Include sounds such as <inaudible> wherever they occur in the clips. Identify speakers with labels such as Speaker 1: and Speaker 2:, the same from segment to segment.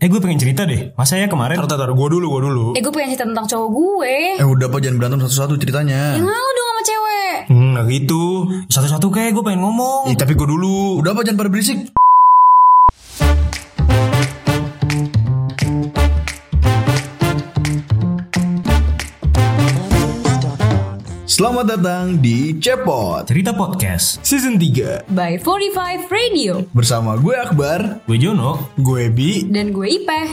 Speaker 1: Eh gue pengen cerita deh. Masa ya kemarin
Speaker 2: Taruh, taruh, gue dulu, gue dulu.
Speaker 3: Eh gue pengen cerita tentang cowok gue.
Speaker 4: Eh udah apa jangan berantem satu-satu ceritanya.
Speaker 3: Malu dong sama cewek.
Speaker 2: Hmm, nah gitu.
Speaker 1: satu-satu kayak gue pengen ngomong.
Speaker 2: Ih, tapi gue dulu.
Speaker 4: Udah apa jangan pada berisik. Selamat datang di Cepot
Speaker 1: Cerita podcast.
Speaker 2: Season 3.
Speaker 3: By 45 Radio.
Speaker 4: bersama gue Akbar.
Speaker 1: Gue Jono.
Speaker 2: Gue Bi.
Speaker 3: Dan gue Ipeh.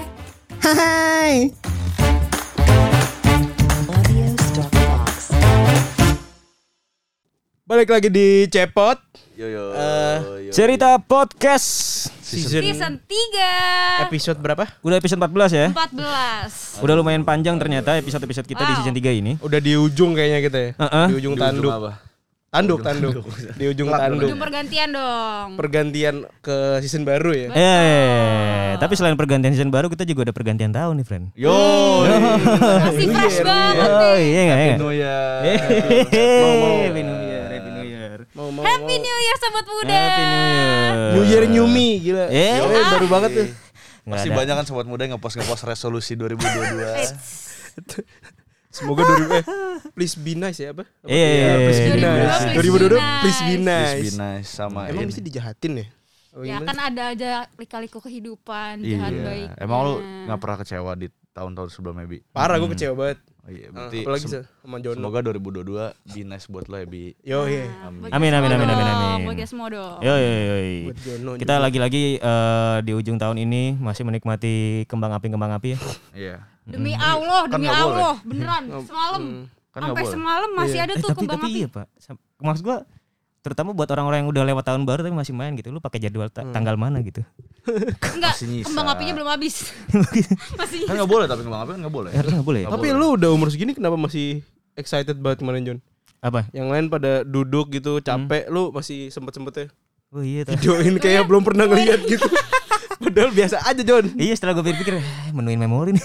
Speaker 5: Balik lagi di Cepot. Eh,
Speaker 6: Cerita podcast
Speaker 5: season
Speaker 7: Season 3
Speaker 5: episode berapa?
Speaker 6: udah episode 14 ya.
Speaker 7: 14
Speaker 6: Udah lumayan panjang ternyata episode-episode kita di
Speaker 7: Wow.
Speaker 6: season 3 ini.
Speaker 5: Udah di ujung kayaknya kita ya.
Speaker 6: Heeh.
Speaker 5: Di ujung tanduk. Tanduk, tanduk. Di ujung tanduk.
Speaker 7: Ujung pergantian dong
Speaker 5: Pergantian ke season baru ya.
Speaker 6: Eh, tapi selain pergantian season baru kita juga ada pergantian tahun nih, friend.
Speaker 5: Yo. iya,
Speaker 7: Masih fresh banget
Speaker 6: Oh iya nggak ya?
Speaker 5: New Year. Mau mau.
Speaker 6: Happy New Year, Happy New Year.
Speaker 7: Happy
Speaker 5: Mau mau.
Speaker 7: New Year sobat muda
Speaker 6: Happy New Year.
Speaker 5: New Year New Me gila.
Speaker 6: Eh.
Speaker 5: Yo, baru banget tuh.
Speaker 6: Nggak
Speaker 8: Pasti
Speaker 6: ada.
Speaker 8: banyak kan sobat muda yang ngepost ngepost resolusi
Speaker 6: <laughs>
Speaker 8: 2022.
Speaker 5: Semoga 2000 eh please be nice ya apa? Apa?
Speaker 6: Iya, iya,
Speaker 5: Ya, please be
Speaker 6: iya.
Speaker 5: nice.
Speaker 7: 2022,
Speaker 5: 2022 please be nice.
Speaker 8: Please be nice sama
Speaker 5: Emang
Speaker 8: ini.
Speaker 5: mesti dijahatin ya? Apa
Speaker 7: Ya
Speaker 5: gimana?
Speaker 7: kan ada aja lika-liku kehidupan
Speaker 8: Iya.
Speaker 7: Jahat baik
Speaker 8: Emang lu nggak pernah kecewa di tahun-tahun sebelumnya Bi?
Speaker 5: Parah gue kecewa banget.
Speaker 8: Oh, iya,
Speaker 5: Ah,
Speaker 8: berarti
Speaker 5: apalagi
Speaker 8: sem-
Speaker 5: sama Jono.
Speaker 8: semoga 2022 be nice buat lo ya Bi.
Speaker 5: Yo iya.
Speaker 6: Amin, amin, amin, amin, amin. Eh,
Speaker 7: Buat kita semua dong
Speaker 6: Yo, yo, yo, yo.
Speaker 5: Buat Jono
Speaker 6: Kita lagi-lagi eh, di ujung tahun ini masih menikmati kembang api kembang api ya.
Speaker 7: <laughs>
Speaker 8: Iya.
Speaker 7: Demi Allah Demi
Speaker 8: nggak boleh.
Speaker 7: Allah Beneran Semalam
Speaker 8: Kan nggak
Speaker 7: Sampai
Speaker 8: boleh.
Speaker 7: semalam masih ada
Speaker 6: Eh,
Speaker 7: tuh
Speaker 6: tapi
Speaker 7: kembang
Speaker 6: tapi
Speaker 7: api
Speaker 6: iya pak. Sam- Maksud gua terutama buat orang-orang yang udah lewat tahun baru tapi masih main gitu. Lu pakai jadwal ta- tanggal mana gitu?
Speaker 7: Enggak
Speaker 8: Masih nyisa.
Speaker 7: Kembang apinya belum habis Masih
Speaker 8: Kan nggak boleh tapi ngomong apa nggak boleh.
Speaker 6: Harusnya nggak boleh. ya?
Speaker 8: Nggak
Speaker 5: Tapi
Speaker 8: boleh.
Speaker 5: lu udah umur segini kenapa masih excited banget kemarin Jon?
Speaker 6: Apa?
Speaker 5: Yang lain pada duduk
Speaker 6: Hmm.
Speaker 5: gitu capek, lu masih sempet-sempetnya <laughs>
Speaker 6: Oh iya. ta-
Speaker 5: videoin kayak belum pernah
Speaker 6: ya?
Speaker 5: ngeliat gitu.
Speaker 6: <laughs>
Speaker 5: Padahal biasa aja Jon.
Speaker 6: iya setelah gue pikir-pikir "Eh, menuin memori nih.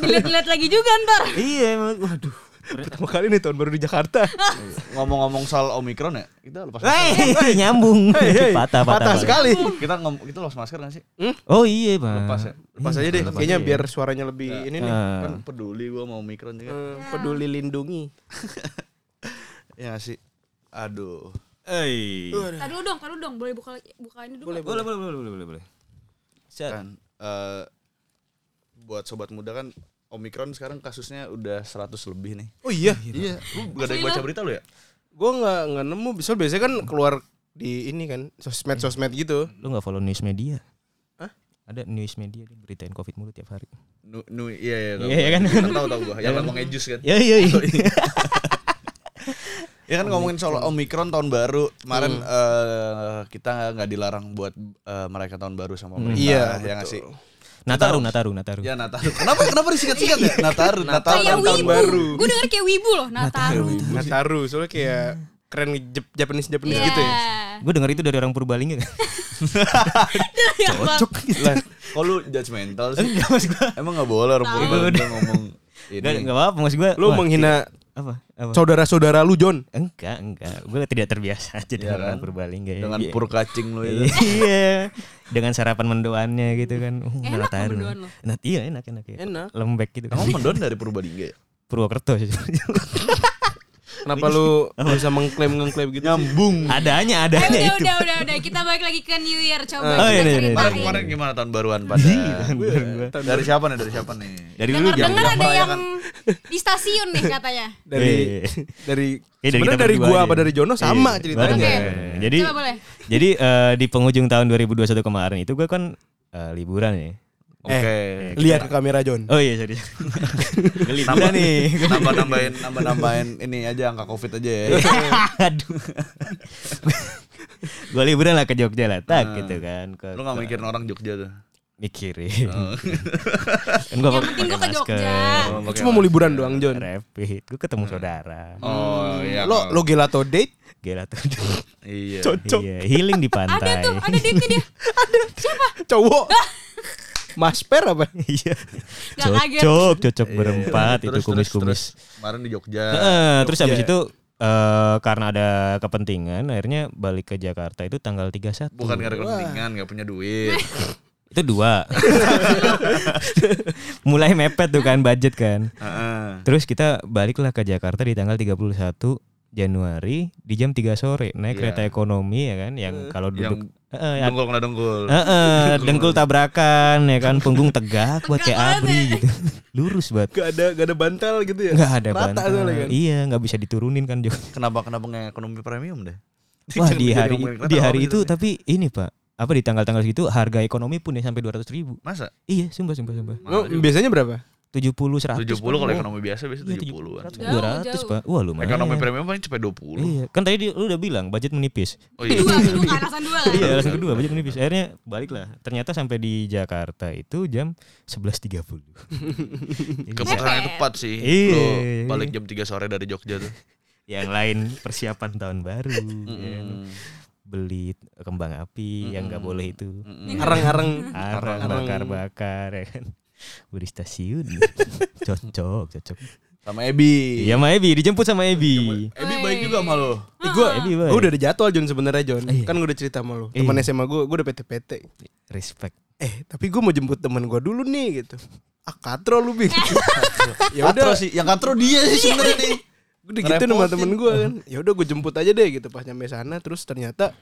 Speaker 7: Dilihat-lihat lagi juga ntar
Speaker 6: iya. emang. Waduh.
Speaker 5: Pertama kali nih tahun baru di
Speaker 6: <laughs>
Speaker 5: Jakarta.
Speaker 8: Ngomong-ngomong soal Omikron ya, kita lepas
Speaker 6: Hei, <laughs> nyambung.
Speaker 5: Hei,
Speaker 6: Iya, patah, patah,
Speaker 5: Iya, patah
Speaker 6: patah. Iya.
Speaker 5: sekali.
Speaker 8: kita ngom- kita lepas masker nggak sih?
Speaker 6: Oh iya pak.
Speaker 8: Lepas ya.
Speaker 5: Pas aja deh, kayaknya
Speaker 6: Iya.
Speaker 5: biar suaranya lebih ini nih.
Speaker 6: Ah.
Speaker 8: Kan peduli gua mau Omikron juga.
Speaker 5: Iya. Eh, Peduli lindungi.
Speaker 8: Ya nggak sih. Aduh.
Speaker 7: Tadi dulu dong Tadi dulu dong Boleh buka buka ini dulu
Speaker 6: Boleh, boleh, boleh, boleh, boleh. Ya.
Speaker 8: kan eh, buat sobat muda kan Omikron sekarang kasusnya udah 100 lebih nih.
Speaker 5: Oh iya.
Speaker 8: Iya, lu gak ada yang baca berita lu ya?
Speaker 5: Gua nggak nggak nemu. Bisa biasanya kan keluar di ini kan sosmed-sosmed gitu.
Speaker 6: Lu nggak follow news media?
Speaker 5: Hah?
Speaker 6: Ada news media dia beritain covid mulu tiap hari.
Speaker 8: Nu, nu iya iya
Speaker 6: Iya, iya kan?
Speaker 8: Tahu tahu gua. Yang ngomongnya jus kan.
Speaker 6: Ya iya. iya. <laughs>
Speaker 8: Ya kan ngomongin soal Omikron tahun baru. Kemarin eh, kita nggak dilarang buat eh, mereka tahun baru sama
Speaker 6: Hmm.
Speaker 5: Iya,
Speaker 8: pemerintah. ya nggak sih?
Speaker 6: Nataru, Nataru, Nataru.
Speaker 8: Ya Nataru. <laughs> Kenapa kenapa disingkat-singkat ya? Nataru,
Speaker 7: Kayak
Speaker 8: Nataru kan tahun
Speaker 7: wibu
Speaker 8: baru.
Speaker 7: Gue denger kayak wibu loh Nataru
Speaker 6: Iya.
Speaker 5: Nataru soalnya kayak keren Jap- Japanese-Japanese
Speaker 7: Iya
Speaker 5: gitu ya.
Speaker 6: Gue denger itu dari orang
Speaker 8: <laughs>
Speaker 6: Purbalingga kan.
Speaker 8: Cocok Iya. gitu. Lah, kok lu judgmental sih?
Speaker 6: Enggak maksud gue.
Speaker 8: Emang nggak boleh orang Purbalingga ngomong
Speaker 6: Enggak,
Speaker 8: ini.
Speaker 6: enggak apa-apa maksud gue.
Speaker 5: Lu menghina
Speaker 6: apa? apa?
Speaker 5: saudara-saudara lu Jon.
Speaker 6: enggak, enggak. Gue tidak terbiasa aja dengan orang
Speaker 8: kan?
Speaker 6: Purbalingga ya.
Speaker 8: Dengan
Speaker 6: Iya.
Speaker 8: purkacing lu itu.
Speaker 6: <laughs> Iya. dengan sarapan mendoannya gitu kan. Uh,
Speaker 7: Enak
Speaker 6: Nataru.
Speaker 7: mendoan lo.
Speaker 6: Nah, iya enak enak ya.
Speaker 5: Enak.
Speaker 6: Lembek gitu kan.
Speaker 8: Kamu mendon dari Purbalingga ya?
Speaker 6: Purwokerto <laughs> sih.
Speaker 5: Kenapa
Speaker 6: <laughs>
Speaker 5: lu bisa mengklaim mengklaim gitu? Nyambung.
Speaker 6: adanya,
Speaker 7: Eh,
Speaker 6: adanya
Speaker 7: udah,
Speaker 6: <laughs> itu.
Speaker 7: udah, udah, udah. Kita balik lagi ke New Year.
Speaker 6: Oh,
Speaker 7: Coba
Speaker 6: iya, iya,
Speaker 7: kita
Speaker 6: iya,
Speaker 7: ceritain.
Speaker 8: Kemarin, kemarin gimana tahun baruan pada? dari siapa nih? Dari siapa nih? ya, kan?
Speaker 6: Dari dulu
Speaker 7: Dengar
Speaker 8: Iya,
Speaker 7: dengar
Speaker 6: jangan.
Speaker 7: ada yang <laughs> di stasiun nih katanya.
Speaker 5: Dari
Speaker 6: Iya.
Speaker 5: dari
Speaker 6: Eh, dari
Speaker 5: sebenarnya
Speaker 6: kita
Speaker 5: dari
Speaker 6: berdua
Speaker 5: gua
Speaker 6: aja.
Speaker 5: apa dari Jono sama
Speaker 6: Iya,
Speaker 5: ceritanya.
Speaker 6: bareng.
Speaker 7: Oke.
Speaker 6: Jadi
Speaker 7: Coba boleh.
Speaker 6: jadi eh, di penghujung tahun 2021 kemarin itu gue kan eh, liburan ya.
Speaker 8: Oke.
Speaker 5: Lihat ke kamera Jon.
Speaker 6: Oh iya
Speaker 5: <laughs>
Speaker 6: sorry. Gue liburan nih.
Speaker 8: Nambah nambahin, nambah nambahin ini aja angka covid aja
Speaker 6: <laughs>
Speaker 8: ya.
Speaker 6: <laughs> Aduh. gue liburan lah ke Jogja lah,
Speaker 5: Ah.
Speaker 6: tak gitu kan. Ke,
Speaker 8: Lu nggak mikirin orang Jogja tuh?
Speaker 6: mikirin.
Speaker 5: Oh.
Speaker 6: <laughs> kan gue
Speaker 7: Yang penting gua ke Jogja.
Speaker 5: Cuma mau liburan doang Jon.
Speaker 6: Rapid, gue ketemu
Speaker 5: Hmm.
Speaker 6: saudara.
Speaker 8: Oh iya.
Speaker 5: Lo lo gelato date?
Speaker 6: Gila
Speaker 5: <laughs>
Speaker 6: tuh.
Speaker 8: iya.
Speaker 6: iya, healing di pantai. <laughs>
Speaker 7: Ada tuh, ada date dia.
Speaker 5: Cowok. Mas Per apa?
Speaker 6: Iya.
Speaker 7: Nggak kaget.
Speaker 6: cocok, cocok
Speaker 5: Iya,
Speaker 6: berempat itu kumis-kumis.
Speaker 8: Kemarin di Jogja.
Speaker 6: Heeh, terus habis itu eh karena ada kepentingan akhirnya balik ke Jakarta itu tanggal 31.
Speaker 7: <laughs>
Speaker 8: Bukan karena kepentingan, nggak punya duit.
Speaker 6: Itu dua. <laughs> Mulai mepet tuh kan budget kan.
Speaker 8: Heeh.
Speaker 6: Terus kita baliklah ke Jakarta di tanggal 31 Januari di jam 3 sore naik
Speaker 8: Iya.
Speaker 6: kereta ekonomi ya kan yang kalau duduk
Speaker 8: Yang
Speaker 6: Heeh, ya-
Speaker 8: dengkul kena dengkul.
Speaker 6: Heeh, dengkul tabrakan ya kan, punggung tegak buat kayak abri gitu. Lurus banget.
Speaker 5: Gak ada gak ada bantal gitu ya?
Speaker 6: Enggak ada
Speaker 5: Rata
Speaker 6: bantal.
Speaker 5: soalnya kan.
Speaker 6: Iya, nggak bisa diturunin kan Jok.
Speaker 8: Kenapa kenapa nggak ekonomi premium deh? <laughs>
Speaker 6: Wah, di
Speaker 8: jadi
Speaker 6: hari
Speaker 8: ngomongin gitu. kereta
Speaker 6: di hari
Speaker 8: orang
Speaker 6: itu
Speaker 8: jadinya.
Speaker 6: tapi ini, Pak. Apa di tanggal-tanggal segitu harga ekonomi pun ya sampai 200 ribu
Speaker 8: Masa?
Speaker 6: Iya, sumpah sumpah sumpah.
Speaker 5: Lu biasanya berapa?
Speaker 6: 70 100.
Speaker 8: 70 kalau ekonomi biasa biasa
Speaker 6: Iya,
Speaker 8: 70-an.
Speaker 6: 70, 200,
Speaker 7: Jauh,
Speaker 6: Pak. Wah, lumayan.
Speaker 8: Ekonomi premium paling cepet 20.
Speaker 6: Iya, kan tadi di- lu udah bilang budget menipis.
Speaker 8: Oh iya.
Speaker 7: Dua, itu kan alasan dua kan.
Speaker 6: Iya, alasan kedua budget menipis. Akhirnya baliklah. Ternyata sampai di Jakarta itu jam 11.30. Jadi
Speaker 8: Keputusan yang tepat sih.
Speaker 6: Iya.
Speaker 8: Lo balik jam 3 sore dari Jogja tuh.
Speaker 6: <laughs> yang lain persiapan tahun baru ya kan. beli kembang api yang nggak boleh itu Iya.
Speaker 5: Arang-arang.
Speaker 6: arang bakar bakar ya kan <laughs> beli stasiun <laughs> cocok cocok
Speaker 8: Sama Ebi.
Speaker 6: iya sama Ebi dijemput sama Ebi
Speaker 8: Ebi baik juga sama lo.
Speaker 5: Eh, gua
Speaker 6: Ebi
Speaker 5: gua
Speaker 6: baik.
Speaker 5: udah ada jadwal Jon sebenarnya Jon.
Speaker 6: Iya.
Speaker 5: Kan gua udah cerita sama lu.
Speaker 6: Iya.
Speaker 5: Teman SMA gua, gua udah PT-PT.
Speaker 6: respect
Speaker 5: Eh, tapi gua mau jemput teman gua dulu nih gitu. Ah, katro lu
Speaker 6: <laughs>
Speaker 5: bi. ya udah,
Speaker 8: Katro sih, yang katro dia
Speaker 6: Iya.
Speaker 8: sih sebenarnya nih.
Speaker 5: gua digituin sama temen gua kan. Ya udah gua jemput aja deh gitu pas nyampe sana terus ternyata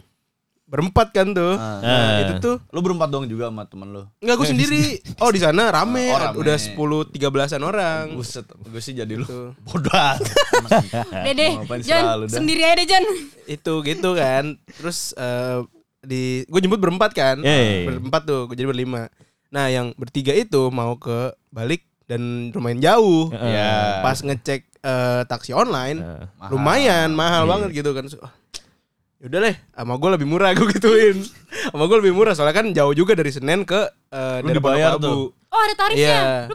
Speaker 5: berempat kan tuh.
Speaker 8: Ah.
Speaker 5: Nah, itu tuh
Speaker 8: Lo berempat doang juga sama temen lo.
Speaker 5: Enggak
Speaker 8: <laughs>
Speaker 5: gue sendiri. Oh di sana rame,
Speaker 8: Oh, rame.
Speaker 5: udah 10 13-an orang. gitu.
Speaker 8: Buset, gue sih jadi lo.
Speaker 5: Tuh.
Speaker 8: Bodoh
Speaker 5: <laughs>
Speaker 8: amat.
Speaker 7: Dede,
Speaker 8: Ngapain selalu
Speaker 7: Jon,
Speaker 8: dah.
Speaker 7: sendiri aja deh Jon.
Speaker 5: Itu gitu kan. Terus eh, di gue jemput berempat kan.
Speaker 8: Iya,
Speaker 6: Yeay.
Speaker 5: Berempat tuh, gue jadi berlima. Nah, yang bertiga itu mau ke balik dan lumayan jauh.
Speaker 8: Iya.
Speaker 5: Pas ngecek eh, taksi online
Speaker 6: Heeh.
Speaker 5: lumayan mahal
Speaker 8: Iya.
Speaker 5: banget gitu kan. So, ah, Yaudah deh, sama gue lebih murah gue
Speaker 8: <laughs>
Speaker 5: gituin. sama gue lebih murah soalnya kan jauh juga dari Senen ke eh,
Speaker 8: Lu
Speaker 5: dari
Speaker 8: dibayar
Speaker 5: Pondok Labu.
Speaker 7: Oh ada tarifnya.
Speaker 5: Iya.
Speaker 7: Lu, lu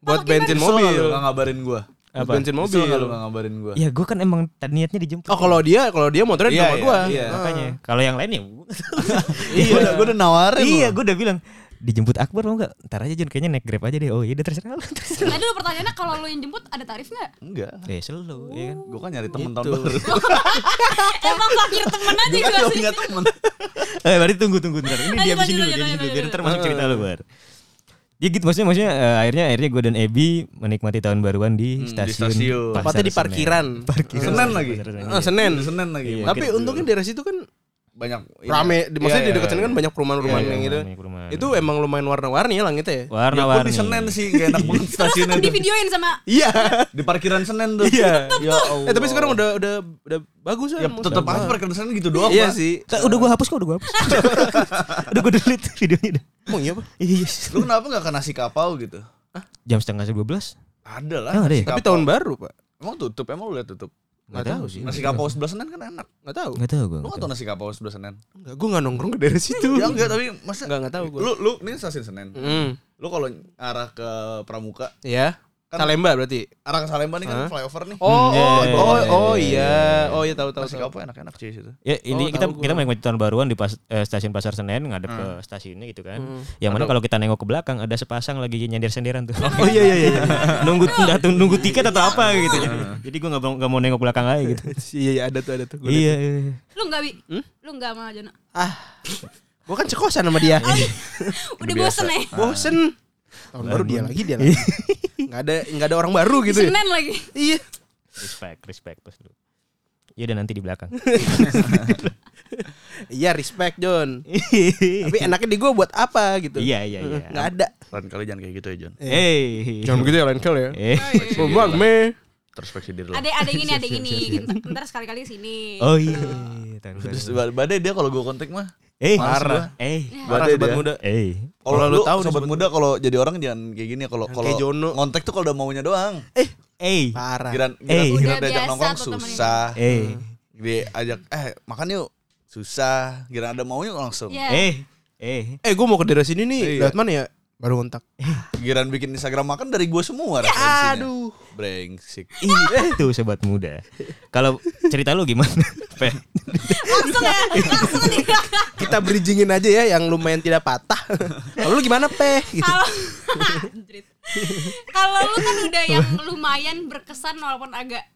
Speaker 5: Buat
Speaker 7: patokin
Speaker 5: bensin
Speaker 8: Nyesel nggak
Speaker 5: mobil.
Speaker 8: lo nggak ngabarin gue?
Speaker 5: Buat
Speaker 6: Apa?
Speaker 5: bensin Iya. mobil.
Speaker 8: Nyesel nggak lo nggak ngabarin gue?
Speaker 6: ya gue kan emang tadi niatnya dijemput
Speaker 5: Oh kalau dia kalau dia motornya di
Speaker 8: Iya,
Speaker 5: rumah
Speaker 8: iya,
Speaker 5: gua. Ah.
Speaker 8: iya.
Speaker 6: makanya kalau yang lain ya
Speaker 8: Iya, gue udah nawarin
Speaker 6: iya
Speaker 8: lo.
Speaker 6: gue udah bilang dijemput Akbar mau nggak ntar aja Jon kayaknya naik grab aja deh oh iya udah terserah lu terserah
Speaker 7: Tadi lu pertanyaannya kalau lu yang jemput ada tarif nggak?
Speaker 8: Enggak.
Speaker 6: ya selalu ya kan
Speaker 8: Gue kan nyari temen tahun
Speaker 5: Gitu. <laughs>
Speaker 8: baru.
Speaker 7: Emang fakir temen aja
Speaker 8: Gue kan
Speaker 7: gua
Speaker 8: gak
Speaker 7: sih.
Speaker 8: punya temen.
Speaker 6: <laughs> Eh, berarti tunggu tunggu ntar. Ini
Speaker 7: Lanjut,
Speaker 6: dihabisin dulu,
Speaker 7: lanjut, lanjut,
Speaker 6: dihabisin dulu
Speaker 7: lanjut,
Speaker 6: biar ntar masuk cerita lu, Bar. Ya gitu maksudnya maksudnya eh, akhirnya akhirnya gue dan Ebi menikmati tahun baruan di
Speaker 8: di
Speaker 6: stasiun.
Speaker 8: stasiun.
Speaker 6: Pasar
Speaker 5: Tempatnya di
Speaker 6: Senen.
Speaker 5: parkiran.
Speaker 6: Parkiran.
Speaker 8: Senen lagi.
Speaker 6: Pasar Senen,
Speaker 5: Ah,
Speaker 6: iya.
Speaker 5: Senen.
Speaker 8: Senin lagi.
Speaker 6: Iya.
Speaker 5: Tapi untungnya daerah situ kan
Speaker 8: banyak ini.
Speaker 5: rame. Di- Maksudnya
Speaker 8: Iya,
Speaker 5: di dekat
Speaker 8: iya,
Speaker 5: Senen kan
Speaker 8: iya.
Speaker 5: banyak perumahan-perumahan
Speaker 6: Iya,
Speaker 5: yang
Speaker 6: iya,
Speaker 5: gitu.
Speaker 6: banyak perumahan.
Speaker 5: Itu emang lumayan warna-warni ya langitnya ya.
Speaker 8: Gue
Speaker 6: Warna-warni.
Speaker 8: di Senen sih gak enak banget
Speaker 6: <laughs>
Speaker 8: stasiunnya
Speaker 7: Di
Speaker 8: tuh.
Speaker 7: videoin Kan sama
Speaker 5: Iya.
Speaker 8: Di parkiran Senen tuh. Iya. Ya Allah.
Speaker 5: Eh tapi sekarang udah udah udah bagus
Speaker 8: ya
Speaker 5: ya. maksudnya.
Speaker 8: tetap aja parkiran Senen gitu doang,
Speaker 5: Iya
Speaker 8: Pak.
Speaker 5: sih.
Speaker 6: Tuh, Udah gue hapus kok, udah gue hapus. udah gue delete videonya udah.
Speaker 5: Emang iya, Pak?
Speaker 6: Iya, iya.
Speaker 8: Lu kenapa gak ke nasi kapau gitu?
Speaker 6: Jam setengah dua belas.
Speaker 8: Ada lah.
Speaker 6: Emang ada ya?
Speaker 8: nasi
Speaker 5: Tapi
Speaker 8: kapau.
Speaker 5: tahun baru, Pak.
Speaker 8: Emang tutup, emang lu lihat tutup.
Speaker 5: Enggak tahu sih.
Speaker 8: Nasi kapau sebelah Senen kan enak.
Speaker 5: Enggak tahu.
Speaker 6: Gak tau gue.
Speaker 8: Lu gak tau nasi kapau sebelah Senen?
Speaker 5: Enggak, gua enggak nongkrong ke daerah situ.
Speaker 8: Ya enggak, tapi masa
Speaker 5: Enggak, enggak tahu gua.
Speaker 8: Lu lu ini stasiun Senen.
Speaker 5: Hmm.
Speaker 8: Lu kalau arah ke Pramuka,
Speaker 5: Ya.
Speaker 8: Kan-
Speaker 5: Salemba berarti.
Speaker 8: arah ke Salemba nih kan flyover nih.
Speaker 5: Oh, oh,
Speaker 6: iya,
Speaker 5: oh,
Speaker 6: iya,
Speaker 5: oh iya. Oh iya tahu tahu.
Speaker 8: nasi
Speaker 5: tahu.
Speaker 8: kapau enak-enak cuy situ.
Speaker 6: Ya ini
Speaker 5: Oh,
Speaker 6: kita
Speaker 5: tahu gua.
Speaker 6: kita menikmati tahun baruan di pas, eh, stasiun Pasar Senen ngadep ke stasiunnya gitu kan. Yang mana kalau kita nengok ke belakang ada sepasang lagi nyender senderan tuh. <laughs> Oh iya iya iya. nunggu entah tuh nunggu tiket atau apa gitu. Jadi gua nggak mau- nggak mau nengok belakang lagi gitu.
Speaker 5: <laughs> Iya, iya ada tuh ada tuh.
Speaker 6: <laughs>
Speaker 5: Gua Ah.
Speaker 6: iya. iya.
Speaker 7: lu nggak bi, lu nggak sama Jon.
Speaker 5: Gua kan cekosan sama dia.
Speaker 7: Udah bosen ya.
Speaker 5: Gitu Ah. Bosen. Tahun baru dia lagi dia <laughs> lagi. Enggak ada enggak ada orang baru
Speaker 7: Di
Speaker 5: gitu ya.
Speaker 7: Senen lagi.
Speaker 5: Iya.
Speaker 6: Respect, respect pas dulu. Iya dan nanti di <laughs> belakang.
Speaker 5: Iya respect John. Tapi <laughs> enaknya di gua buat apa gitu.
Speaker 6: Iya iya iya.
Speaker 5: Enggak ada.
Speaker 8: Lain kali jangan kayak gitu ya, Jon.
Speaker 5: Iya.
Speaker 6: Eh.
Speaker 5: Jangan begitu ya lain kali ya.
Speaker 6: Eh.
Speaker 5: Oh, Bang Me.
Speaker 8: Terspeksi diri lo.
Speaker 7: Ada ada yang ini ada yang ini. gitu. Ntar sekali-kali kesini.
Speaker 6: Oh iya. Tahun
Speaker 8: Terus
Speaker 6: baru.
Speaker 8: ba- badai dia kalau gue kontak mah.
Speaker 6: Eh.
Speaker 8: Parah.
Speaker 6: Eh.
Speaker 8: Badai dia.
Speaker 5: muda.
Speaker 6: Eh.
Speaker 8: Kalau
Speaker 5: Kalau
Speaker 8: lu
Speaker 5: lu tahu
Speaker 8: tahu sobat muda kalau jadi orang jangan kayak gini ya. kalau kalau
Speaker 5: kayak Jono.
Speaker 8: kontak tuh kalau udah maunya doang.
Speaker 6: Eh.
Speaker 5: Parah.
Speaker 8: Giran
Speaker 6: Eh.
Speaker 8: giran, giran
Speaker 7: Udah
Speaker 8: diajak
Speaker 7: biasa
Speaker 8: nongkrong
Speaker 7: tuh temenin.
Speaker 8: susah.
Speaker 6: Eh.
Speaker 8: Diajak eh makan yuk susah. Giran ada maunya langsung.
Speaker 7: Iya.
Speaker 6: Eh. Eh.
Speaker 5: Eh gua mau ke daerah sini nih. Lewat mana ya? Baru kontak.
Speaker 8: Giran bikin Instagram makan dari gue
Speaker 7: Ya,
Speaker 8: semua referensinya. Aduh. Brengsek.
Speaker 9: Iya. <laughs>
Speaker 6: Itu sobat muda. Kalau cerita lu gimana? Pe.
Speaker 7: Langsung ya. Langsung nih.
Speaker 5: Kita bridgingin aja ya yang lumayan tidak <laughs> patah. Kalau lu gimana, Peh? Gitu.
Speaker 7: Kalau Anjrit. Kalau lu kan udah yang lumayan berkesan walaupun agak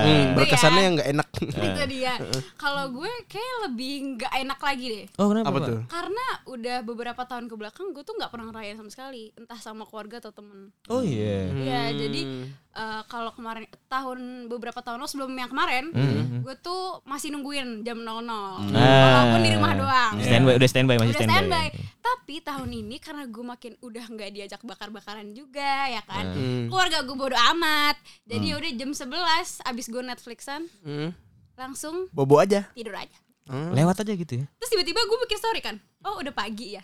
Speaker 6: Iya.
Speaker 5: Hmm, berkesannya yang nggak enak.
Speaker 7: Itu
Speaker 9: Nah.
Speaker 7: dia. Kalau gue kayak lebih nggak enak lagi deh.
Speaker 9: Oh kenapa?
Speaker 5: Apa
Speaker 9: Pak?
Speaker 5: tuh?
Speaker 7: Karena udah beberapa tahun ke belakang gue tuh nggak pernah ngerayain sama sekali, entah sama keluarga atau temen.
Speaker 9: Oh iya.
Speaker 7: Ya jadi eh, kalau kemarin tahun beberapa tahun lo sebelum yang kemarin,
Speaker 9: Hmm.
Speaker 7: gue tuh masih nungguin jam 00 walaupun di rumah doang.
Speaker 9: Ah. Standby Nah. udah standby masih
Speaker 7: udah standby.
Speaker 9: standby.
Speaker 7: Tapi tahun ini karena gue makin udah nggak diajak bakar-bakaran juga ya kan.
Speaker 9: Hmm.
Speaker 7: Keluarga gue bodo amat. Jadi ya udah jam 11 abis gue Netflixan
Speaker 5: Hmm.
Speaker 7: langsung
Speaker 5: Bobo aja.
Speaker 7: tidur aja.
Speaker 9: Lewat aja gitu ya.
Speaker 7: Terus tiba-tiba gue mikir sorry kan. Oh udah pagi
Speaker 5: <laughs>
Speaker 7: ya.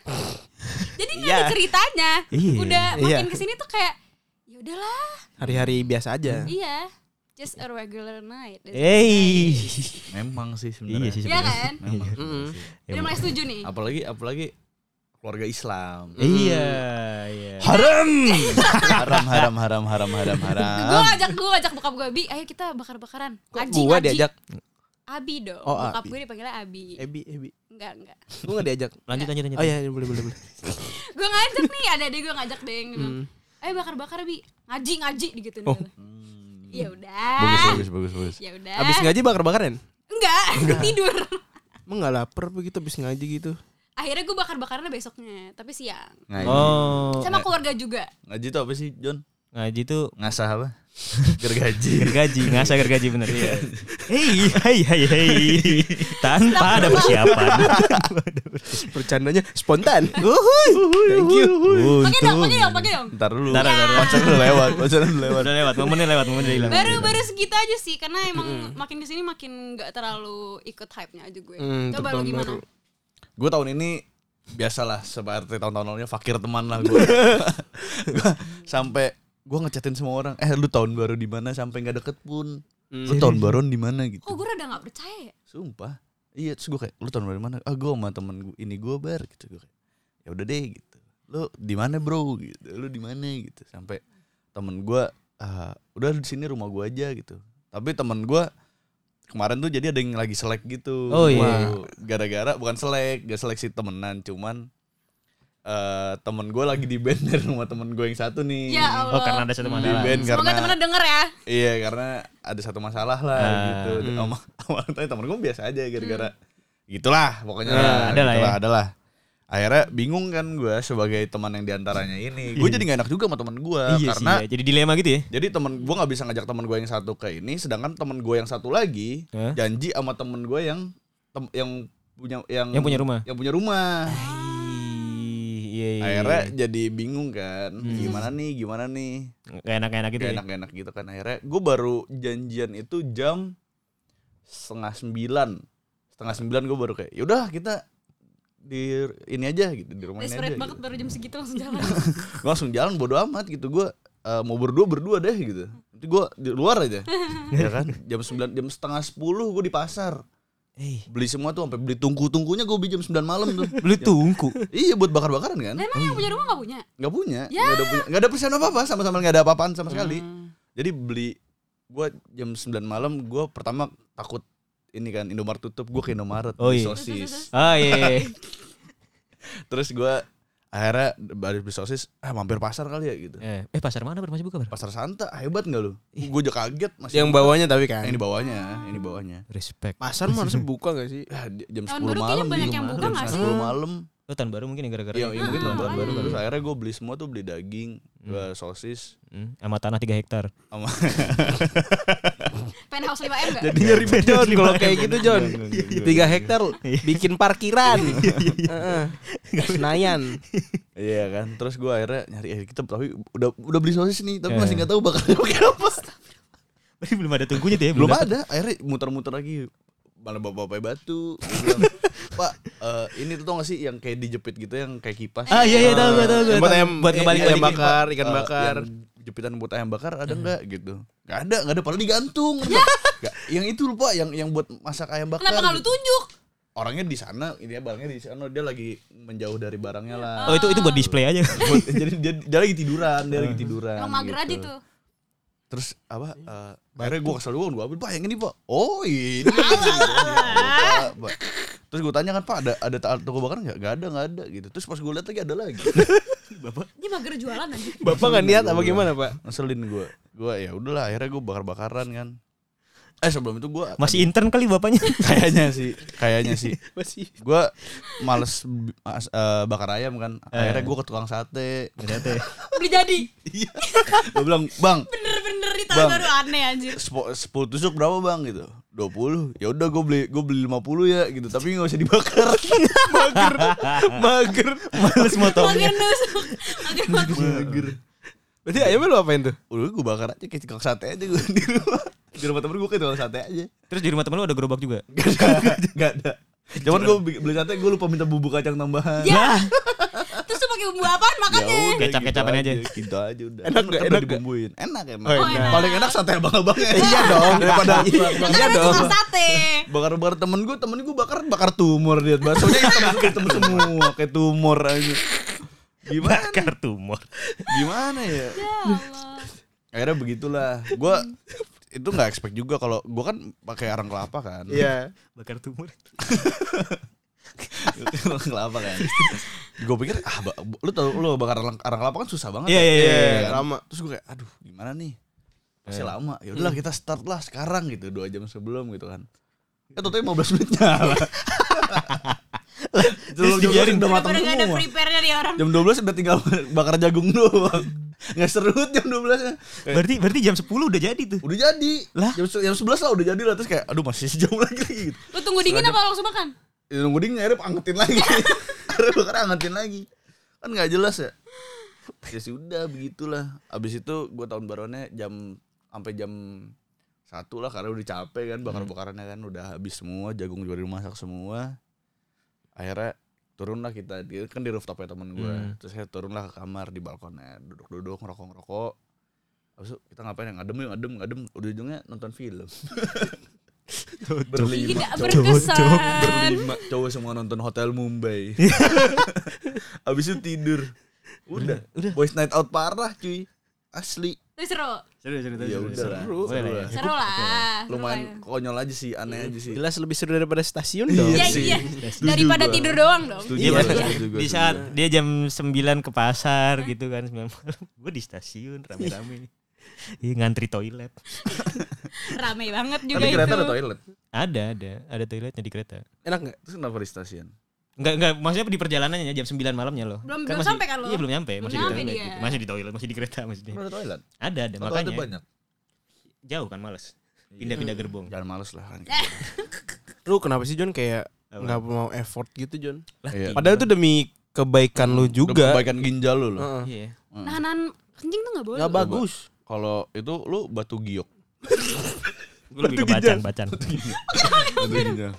Speaker 7: Jadi nggak
Speaker 5: Iya.
Speaker 7: ada ceritanya.
Speaker 9: Iya.
Speaker 7: Udah makin
Speaker 5: Iya.
Speaker 7: kesini tuh kayak ya udahlah.
Speaker 5: Hari-hari biasa aja.
Speaker 7: Iya. Just a regular night.
Speaker 5: Eh, iya,
Speaker 9: Hey.
Speaker 8: Memang sih
Speaker 9: Iya
Speaker 8: sebenarnya.
Speaker 9: sih
Speaker 7: Iya
Speaker 9: sebenarnya.
Speaker 7: kan?
Speaker 8: Memang.
Speaker 7: Udah mulai setuju nih.
Speaker 8: Apalagi apalagi keluarga Islam. Hmm.
Speaker 9: Iya, iya.
Speaker 8: Haram. haram haram haram haram haram
Speaker 7: Gue
Speaker 8: haram.
Speaker 7: ajak gue ajak bokap gue Bi, ayo kita bakar-bakaran.
Speaker 5: Kok
Speaker 7: Ngaji,
Speaker 5: gua
Speaker 7: ngaji.
Speaker 5: diajak
Speaker 7: Abi dong.
Speaker 5: Oh,
Speaker 7: bokap
Speaker 5: Abi. Eh.
Speaker 7: gue dipanggilnya Abi.
Speaker 5: Ebi Ebi.
Speaker 7: Enggak, enggak.
Speaker 5: Gua enggak diajak.
Speaker 9: Lanjut lanjut lanjut.
Speaker 5: Oh iya, iya, boleh boleh boleh.
Speaker 7: Gue ngajak nih, ada adik gue ngajak deh. Gitu. Ayo bakar-bakar Bi. Ngaji, ngaji gitu
Speaker 5: Oh.
Speaker 7: nih. Ya
Speaker 8: Bagus
Speaker 7: udah.
Speaker 8: bagus bagus bagus.
Speaker 7: Ya udah.
Speaker 5: Hmm. Abis ngaji bakar-bakaran.
Speaker 7: Enggak, tidur.
Speaker 5: Emang nggak lapar begitu abis ngaji gitu.
Speaker 7: Akhirnya gue bakar-bakarannya besoknya, tapi siang.
Speaker 8: Ngaji.
Speaker 9: Oh,
Speaker 7: Sama keluarga juga.
Speaker 8: Ngaji tuh apa sih, John?
Speaker 9: ngaji tuh
Speaker 8: Ngasah apa? Gergaji.
Speaker 9: gergaji, ngasah gergaji bener. Hei, hei, hei, hei. Tanpa ada
Speaker 7: <laughs>
Speaker 9: persiapan.
Speaker 5: Bercandanya
Speaker 9: <laughs>
Speaker 5: spontan. Uhuy. Thank you.
Speaker 7: Pakai dong, pakai dong, pakai dong.
Speaker 8: Ntar dulu.
Speaker 9: Ntar, ntar, ntar.
Speaker 8: Konser udah lewat, konser udah lewat.
Speaker 9: Udah lewat, momennya lewat,
Speaker 6: Iya,
Speaker 9: momennya udah hilang.
Speaker 7: Baru baru segitu aja sih karena emang makin kesini makin nggak terlalu ikut hype-nya aja gue.
Speaker 5: Hmm,
Speaker 7: Coba lu
Speaker 5: tahun
Speaker 7: gimana?
Speaker 5: baru.
Speaker 8: Gue tahun ini biasalah seperti tahun-tahun lalunya fakir teman lah gue. Gua sampai gue ngechatin semua orang, eh lu tahun baru di mana sampai nggak deket pun. Lu tahun baruan di mana gitu.
Speaker 7: Kok gue udah nggak percaya ya?
Speaker 8: Sumpah. Iya, terus gue kayak lu tahun baru di mana? Ah, gue sama temen gue ini gue bar gitu gue. kayak, Ya udah deh gitu. Lu di mana, Bro? gitu. Lu di mana gitu. Sampai temen gue ah, udah di sini rumah gue aja gitu. Tapi temen gue kemarin tuh jadi ada yang lagi selek gitu.
Speaker 9: Oh, iya.
Speaker 8: Wah, Gara-gara bukan selek, gak seleksi temenan, cuman eh temen gue lagi di band <laughs> dari rumah temen gue yang satu nih.
Speaker 7: Ya Allah.
Speaker 9: Oh, karena ada
Speaker 8: Di
Speaker 9: satu masalah.
Speaker 8: band
Speaker 7: Semoga
Speaker 8: karena
Speaker 7: temennya denger ya.
Speaker 8: Iya karena ada satu masalah lah
Speaker 9: Ah.
Speaker 8: gitu. <laughs> Om, awalnya tanya temen gue biasa aja gara-gara gitulah pokoknya.
Speaker 9: Ah,
Speaker 8: lah,
Speaker 9: ada lah
Speaker 8: gitulah,
Speaker 9: ya.
Speaker 8: Ada lah. Akhirnya bingung kan gue sebagai teman yang diantaranya ini. Gue jadi gak enak juga sama teman gue
Speaker 9: Iya sih,
Speaker 8: karena
Speaker 9: iya. jadi dilema gitu ya.
Speaker 8: jadi temen gue nggak bisa ngajak temen gue yang satu ke ini, sedangkan temen gue yang satu lagi
Speaker 9: Hah?
Speaker 8: janji sama temen gue yang tem- yang punya yang,
Speaker 9: Yang punya rumah.
Speaker 8: yang punya rumah.
Speaker 9: Ih, Iya, iya. Hmm.
Speaker 8: Akhirnya jadi bingung kan, gimana nih, gimana nih.
Speaker 9: Gak enak-enak gitu
Speaker 8: gak
Speaker 9: ya.
Speaker 8: enak-enak gitu kan akhirnya gue baru janjian itu jam setengah sembilan setengah sembilan gue baru kayak yaudah kita di ini aja gitu di rumah ini aja
Speaker 7: Desperate banget
Speaker 8: gitu.
Speaker 7: baru jam segitu langsung jalan.
Speaker 8: Gua langsung jalan bodo amat gitu gue eh, mau berdua berdua deh gitu nanti gue di luar aja ya kan jam sembilan jam setengah sepuluh gue di pasar
Speaker 9: Eh,
Speaker 8: beli semua tuh sampai beli tungku tungkunya gue beli jam 9 malam tuh
Speaker 9: lu tungku.
Speaker 8: iya buat bakar bakaran kan
Speaker 7: Emang yang punya rumah nggak punya?
Speaker 8: nggak punya
Speaker 7: Ya.
Speaker 8: nggak ada punya nggak ada persiapan apa apa sama-sama nggak ada apa-apaan
Speaker 7: Hmm.
Speaker 8: sama sekali jadi beli gua jam 9 malam gua pertama takut ini kan Indomaret tutup gua ke Indomaret
Speaker 9: Oh,
Speaker 8: beli
Speaker 9: iya.
Speaker 8: sosis
Speaker 9: Oh iya. iya.
Speaker 8: terus gua akhirnya baru beli sosis ah mampir pasar kali ya gitu
Speaker 9: <laughs> Eh, Eh, pasar mana Bar? masih buka Bar?
Speaker 8: pasar Santa hebat nggak lu gua aja kaget masih
Speaker 5: Yang bawahnya tapi kan. <laughs>
Speaker 8: yang di bawahnya yang di bawahnya
Speaker 9: Respect.
Speaker 5: Pasar mah harusnya buka gak sih?
Speaker 8: Ah, di- jam
Speaker 7: Tahun
Speaker 8: 10
Speaker 7: baru
Speaker 8: malam
Speaker 7: kayaknya banyak
Speaker 8: di
Speaker 7: yang
Speaker 8: rumah.
Speaker 7: buka
Speaker 8: Jam
Speaker 7: nggak
Speaker 8: 10 malam
Speaker 9: Lu tahun baru mungkin ya gara-gara.
Speaker 8: iya iya,
Speaker 9: ini.
Speaker 8: mungkin
Speaker 7: Ah,
Speaker 8: tahun baru
Speaker 7: makanya.
Speaker 8: terus akhirnya gua beli semua tuh beli daging gua sosis
Speaker 9: Hmm, Sama tanah 3 hektar. <laughs>
Speaker 8: sama
Speaker 7: Penthouse 5M nggak?
Speaker 5: Jadinya ribet John kalau kayak gitu John.
Speaker 9: Iya,
Speaker 5: Tiga hektar bikin parkiran.
Speaker 9: iya.
Speaker 5: Heeh. Senayan.
Speaker 8: Iya kan, terus gue akhirnya nyari eh, kita tapi udah udah beli sosis nih, tapi masih nggak tahu bakal <laughs> pakai apa.
Speaker 9: Berarti belum ada tungkunya tuh ya?
Speaker 8: Belum
Speaker 9: dapat.
Speaker 8: ada, akhirnya muter-muter lagi. Mana bapak-bapak batu, Gua bilang, Pak, eh, ini tuh tau gak sih yang kayak dijepit gitu, yang kayak kipas.
Speaker 9: Ah iya iya tahu gua tahu gua.
Speaker 5: Yang buat
Speaker 9: tahu.
Speaker 5: ayam eh,
Speaker 9: buat Oh, kembali
Speaker 5: ayam
Speaker 9: balikin.
Speaker 5: bakar, ikan
Speaker 8: Eh,
Speaker 5: bakar.
Speaker 8: yang jepitan buat ayam bakar ada nggak gitu? Gak ada, gak ada. Padahal digantung. Nggak, yang itu lupa, yang yang buat masak ayam bakar.
Speaker 7: Kenapa nggak lu
Speaker 8: gitu.
Speaker 7: tunjuk?
Speaker 8: Orangnya di sana, ini ya, barangnya di sana, dia lagi menjauh dari barangnya lah.
Speaker 9: Oh itu itu buat display aja. <laughs>
Speaker 8: Buat- jadi dia, dia lagi tiduran, dia lagi tiduran. gitu.
Speaker 7: Emang mager aja tuh.
Speaker 8: terus apa eh akhirnya gue kesel gue gue ambil pak yang ini pak oh ini Pak, Pak. terus gue tanya kan pak ada ada ta- toko bakar nggak nggak ada nggak ada gitu terus pas gue lihat lagi ada lagi bapak
Speaker 7: Dia mager jualan aja.
Speaker 5: Bapak nggak niat apa gimana pak?
Speaker 8: ngeselin gue gue ya udahlah akhirnya gue bakar bakaran kan eh sebelum itu gue
Speaker 9: Masih
Speaker 8: <laughs>
Speaker 9: intern kali bapaknya. <laughs>
Speaker 8: kayaknya sih kayaknya sih
Speaker 5: Masih.
Speaker 8: gue males bi- as- eh, bakar ayam kan akhirnya gue ke tukang sate ternyata
Speaker 7: Udah jadi.
Speaker 8: gue bilang bang
Speaker 7: Bener-bener ditaruh
Speaker 8: Bang.
Speaker 7: baru aneh anjir.
Speaker 8: sepo- 10 tusuk berapa bang gitu 20 ya udah gue beli gue beli 50 ya gitu tapi nggak usah dibakar mager
Speaker 9: iya.
Speaker 5: <laughs>
Speaker 8: mager males
Speaker 7: Makin nusuk. Makin
Speaker 8: mager
Speaker 5: Berarti ayamnya lu apain tuh?
Speaker 8: <laughs> udah gue bakar aja kayak tukang sate aja gue di rumah di rumah temen gue kayak tukang sate aja
Speaker 9: Terus di rumah temen lu ada gerobak juga.
Speaker 8: gak ada <laughs> gak ada cuman gue beli sate gue lupa minta bumbu kacang tambahan
Speaker 7: Ya. Terus lu pakai bumbu apaan makannya?
Speaker 8: Ya udah,
Speaker 9: Kecap-kecapan
Speaker 8: gitu
Speaker 9: aja.
Speaker 8: Gitu aja udah
Speaker 5: Enak nggak?
Speaker 8: Kan udah
Speaker 5: Enak nggak?
Speaker 8: dibumbuin Enak enak
Speaker 5: Oh,
Speaker 7: enak.
Speaker 8: Paling enak sate abang-abang Iya
Speaker 5: dong.
Speaker 8: Daripada Iya
Speaker 7: Kan ada tukang sate.
Speaker 8: Bakar-bakar temen gue Temen gue bakar Bakar tumor dia Baksonya hitam hitam semua Kayak tumor aja Gimana
Speaker 9: Bakar tumor.
Speaker 8: Gimana ya
Speaker 7: Ya Allah.
Speaker 8: Akhirnya begitulah Gue Itu gak expect juga kalau Gue kan pakai arang kelapa kan
Speaker 5: Iya.
Speaker 9: Bakar tumor.
Speaker 8: <laughs> Arang kelapa kan Gue pikir ah, ba- Lu tau lu bakar arang, arang kelapa kan susah banget
Speaker 9: Iya,
Speaker 8: ya.
Speaker 9: iya, iya,
Speaker 8: Iya,
Speaker 5: iya,
Speaker 8: kan?
Speaker 5: lama.
Speaker 8: Terus gue kayak aduh gimana nih Pasti lama Ya udahlah kita start lah sekarang gitu Dua jam sebelum gitu kan Ya tentunya 15 menit nyala Jam
Speaker 7: Iya.
Speaker 8: 12
Speaker 9: dibiarin.
Speaker 8: udah matang
Speaker 7: Daripada gak ada
Speaker 8: semua
Speaker 7: prepare dari orang.
Speaker 8: Jam 12 udah tinggal bakar jagung doang Nggak serut jam 12 nya
Speaker 6: Eh.
Speaker 9: Berarti berarti jam 10 udah jadi tuh.
Speaker 8: Udah jadi
Speaker 9: Lah?
Speaker 8: jam, se- jam 11 lah udah jadi lah Terus kayak aduh masih sejam lagi gitu
Speaker 7: Lu tunggu dingin apa langsung makan?
Speaker 8: Ya nunggu dingin akhirnya angetin lagi <laughs> Akhirnya bakar angetin lagi Kan gak jelas ya Ya sudah begitulah Abis itu gue tahun baruannya jam Sampai jam Satu lah karena udah capek kan Bakar-bakarannya kan udah habis semua Jagung juga udah masak semua Akhirnya turunlah kita di- Kan di rooftopnya temen gue
Speaker 9: Hmm.
Speaker 8: Terus saya turunlah ke kamar di balkonnya Duduk-duduk ngerokok-ngerokok Abis itu kita ngapain yang adem yuk adem adem Ujung-ujungnya nonton <laughs> film
Speaker 7: Tidak berkesan.
Speaker 8: berlima cowok semua nonton Hotel Mumbai. <laughs> Abis itu tidur. Udah, Boys night out parah cuy. Asli.
Speaker 7: Tapi seru.
Speaker 9: Seru seru
Speaker 8: Ya udah lah.
Speaker 9: Boleh lah ya.
Speaker 7: Seru lah. seru lah.
Speaker 8: Lumayan konyol aja sih, aneh aja sih.
Speaker 5: Jelas lebih seru daripada stasiun dong.
Speaker 7: Ya
Speaker 8: sih.
Speaker 7: iya.
Speaker 8: Setuju
Speaker 7: Daripada
Speaker 8: gua.
Speaker 7: tidur doang dong.
Speaker 8: Setuju
Speaker 9: Iya,
Speaker 8: gua,
Speaker 9: maksudnya
Speaker 8: setuju gua,
Speaker 9: di
Speaker 8: setuju
Speaker 9: saat dia jam 9 ke pasar gitu kan 9 malam. <laughs> Gue di stasiun rame-rame. Iya ngantri toilet.
Speaker 7: Rame banget
Speaker 8: gua.
Speaker 7: juga gitu.
Speaker 8: Tapi
Speaker 7: itu.
Speaker 8: kereta ada toilet.
Speaker 9: Ada, ada. Ada toiletnya di kereta.
Speaker 5: Enak enggak?
Speaker 8: Terus kenapa di stasiun?
Speaker 9: Enggak, enggak, maksudnya di perjalanannya jam 9 malamnya loh.
Speaker 7: Belum- belum
Speaker 9: masih-
Speaker 7: sampai kan lo?
Speaker 9: Iya, belum nyampe,
Speaker 7: Belum
Speaker 9: masih
Speaker 7: nyampe
Speaker 9: di toilet.
Speaker 7: dia.
Speaker 9: gitu. Masih di toilet, masih di kereta maksudnya.
Speaker 8: Kenapa ada toilet?
Speaker 9: Ada, ada
Speaker 8: Atau
Speaker 9: makanya.
Speaker 8: ada banyak?
Speaker 9: Jauh kan males. Pindah-pindah gerbong.
Speaker 8: Jangan males lah kan.
Speaker 5: <laughs> Lu kenapa sih Jon kayak nggak mau effort gitu Jon?
Speaker 8: Iya.
Speaker 5: Padahal itu demi kebaikan lu
Speaker 8: Udah
Speaker 5: juga.
Speaker 8: perbaikan ginjal lu loh.
Speaker 5: Heeh.
Speaker 9: Iya.
Speaker 7: Nahanan kencing tuh gak boleh.
Speaker 5: Nggak bagus.
Speaker 8: Kalau itu lu batu giok.
Speaker 9: Gue lebih ke bacan-bacan. <laughs>
Speaker 8: Batu ginjal.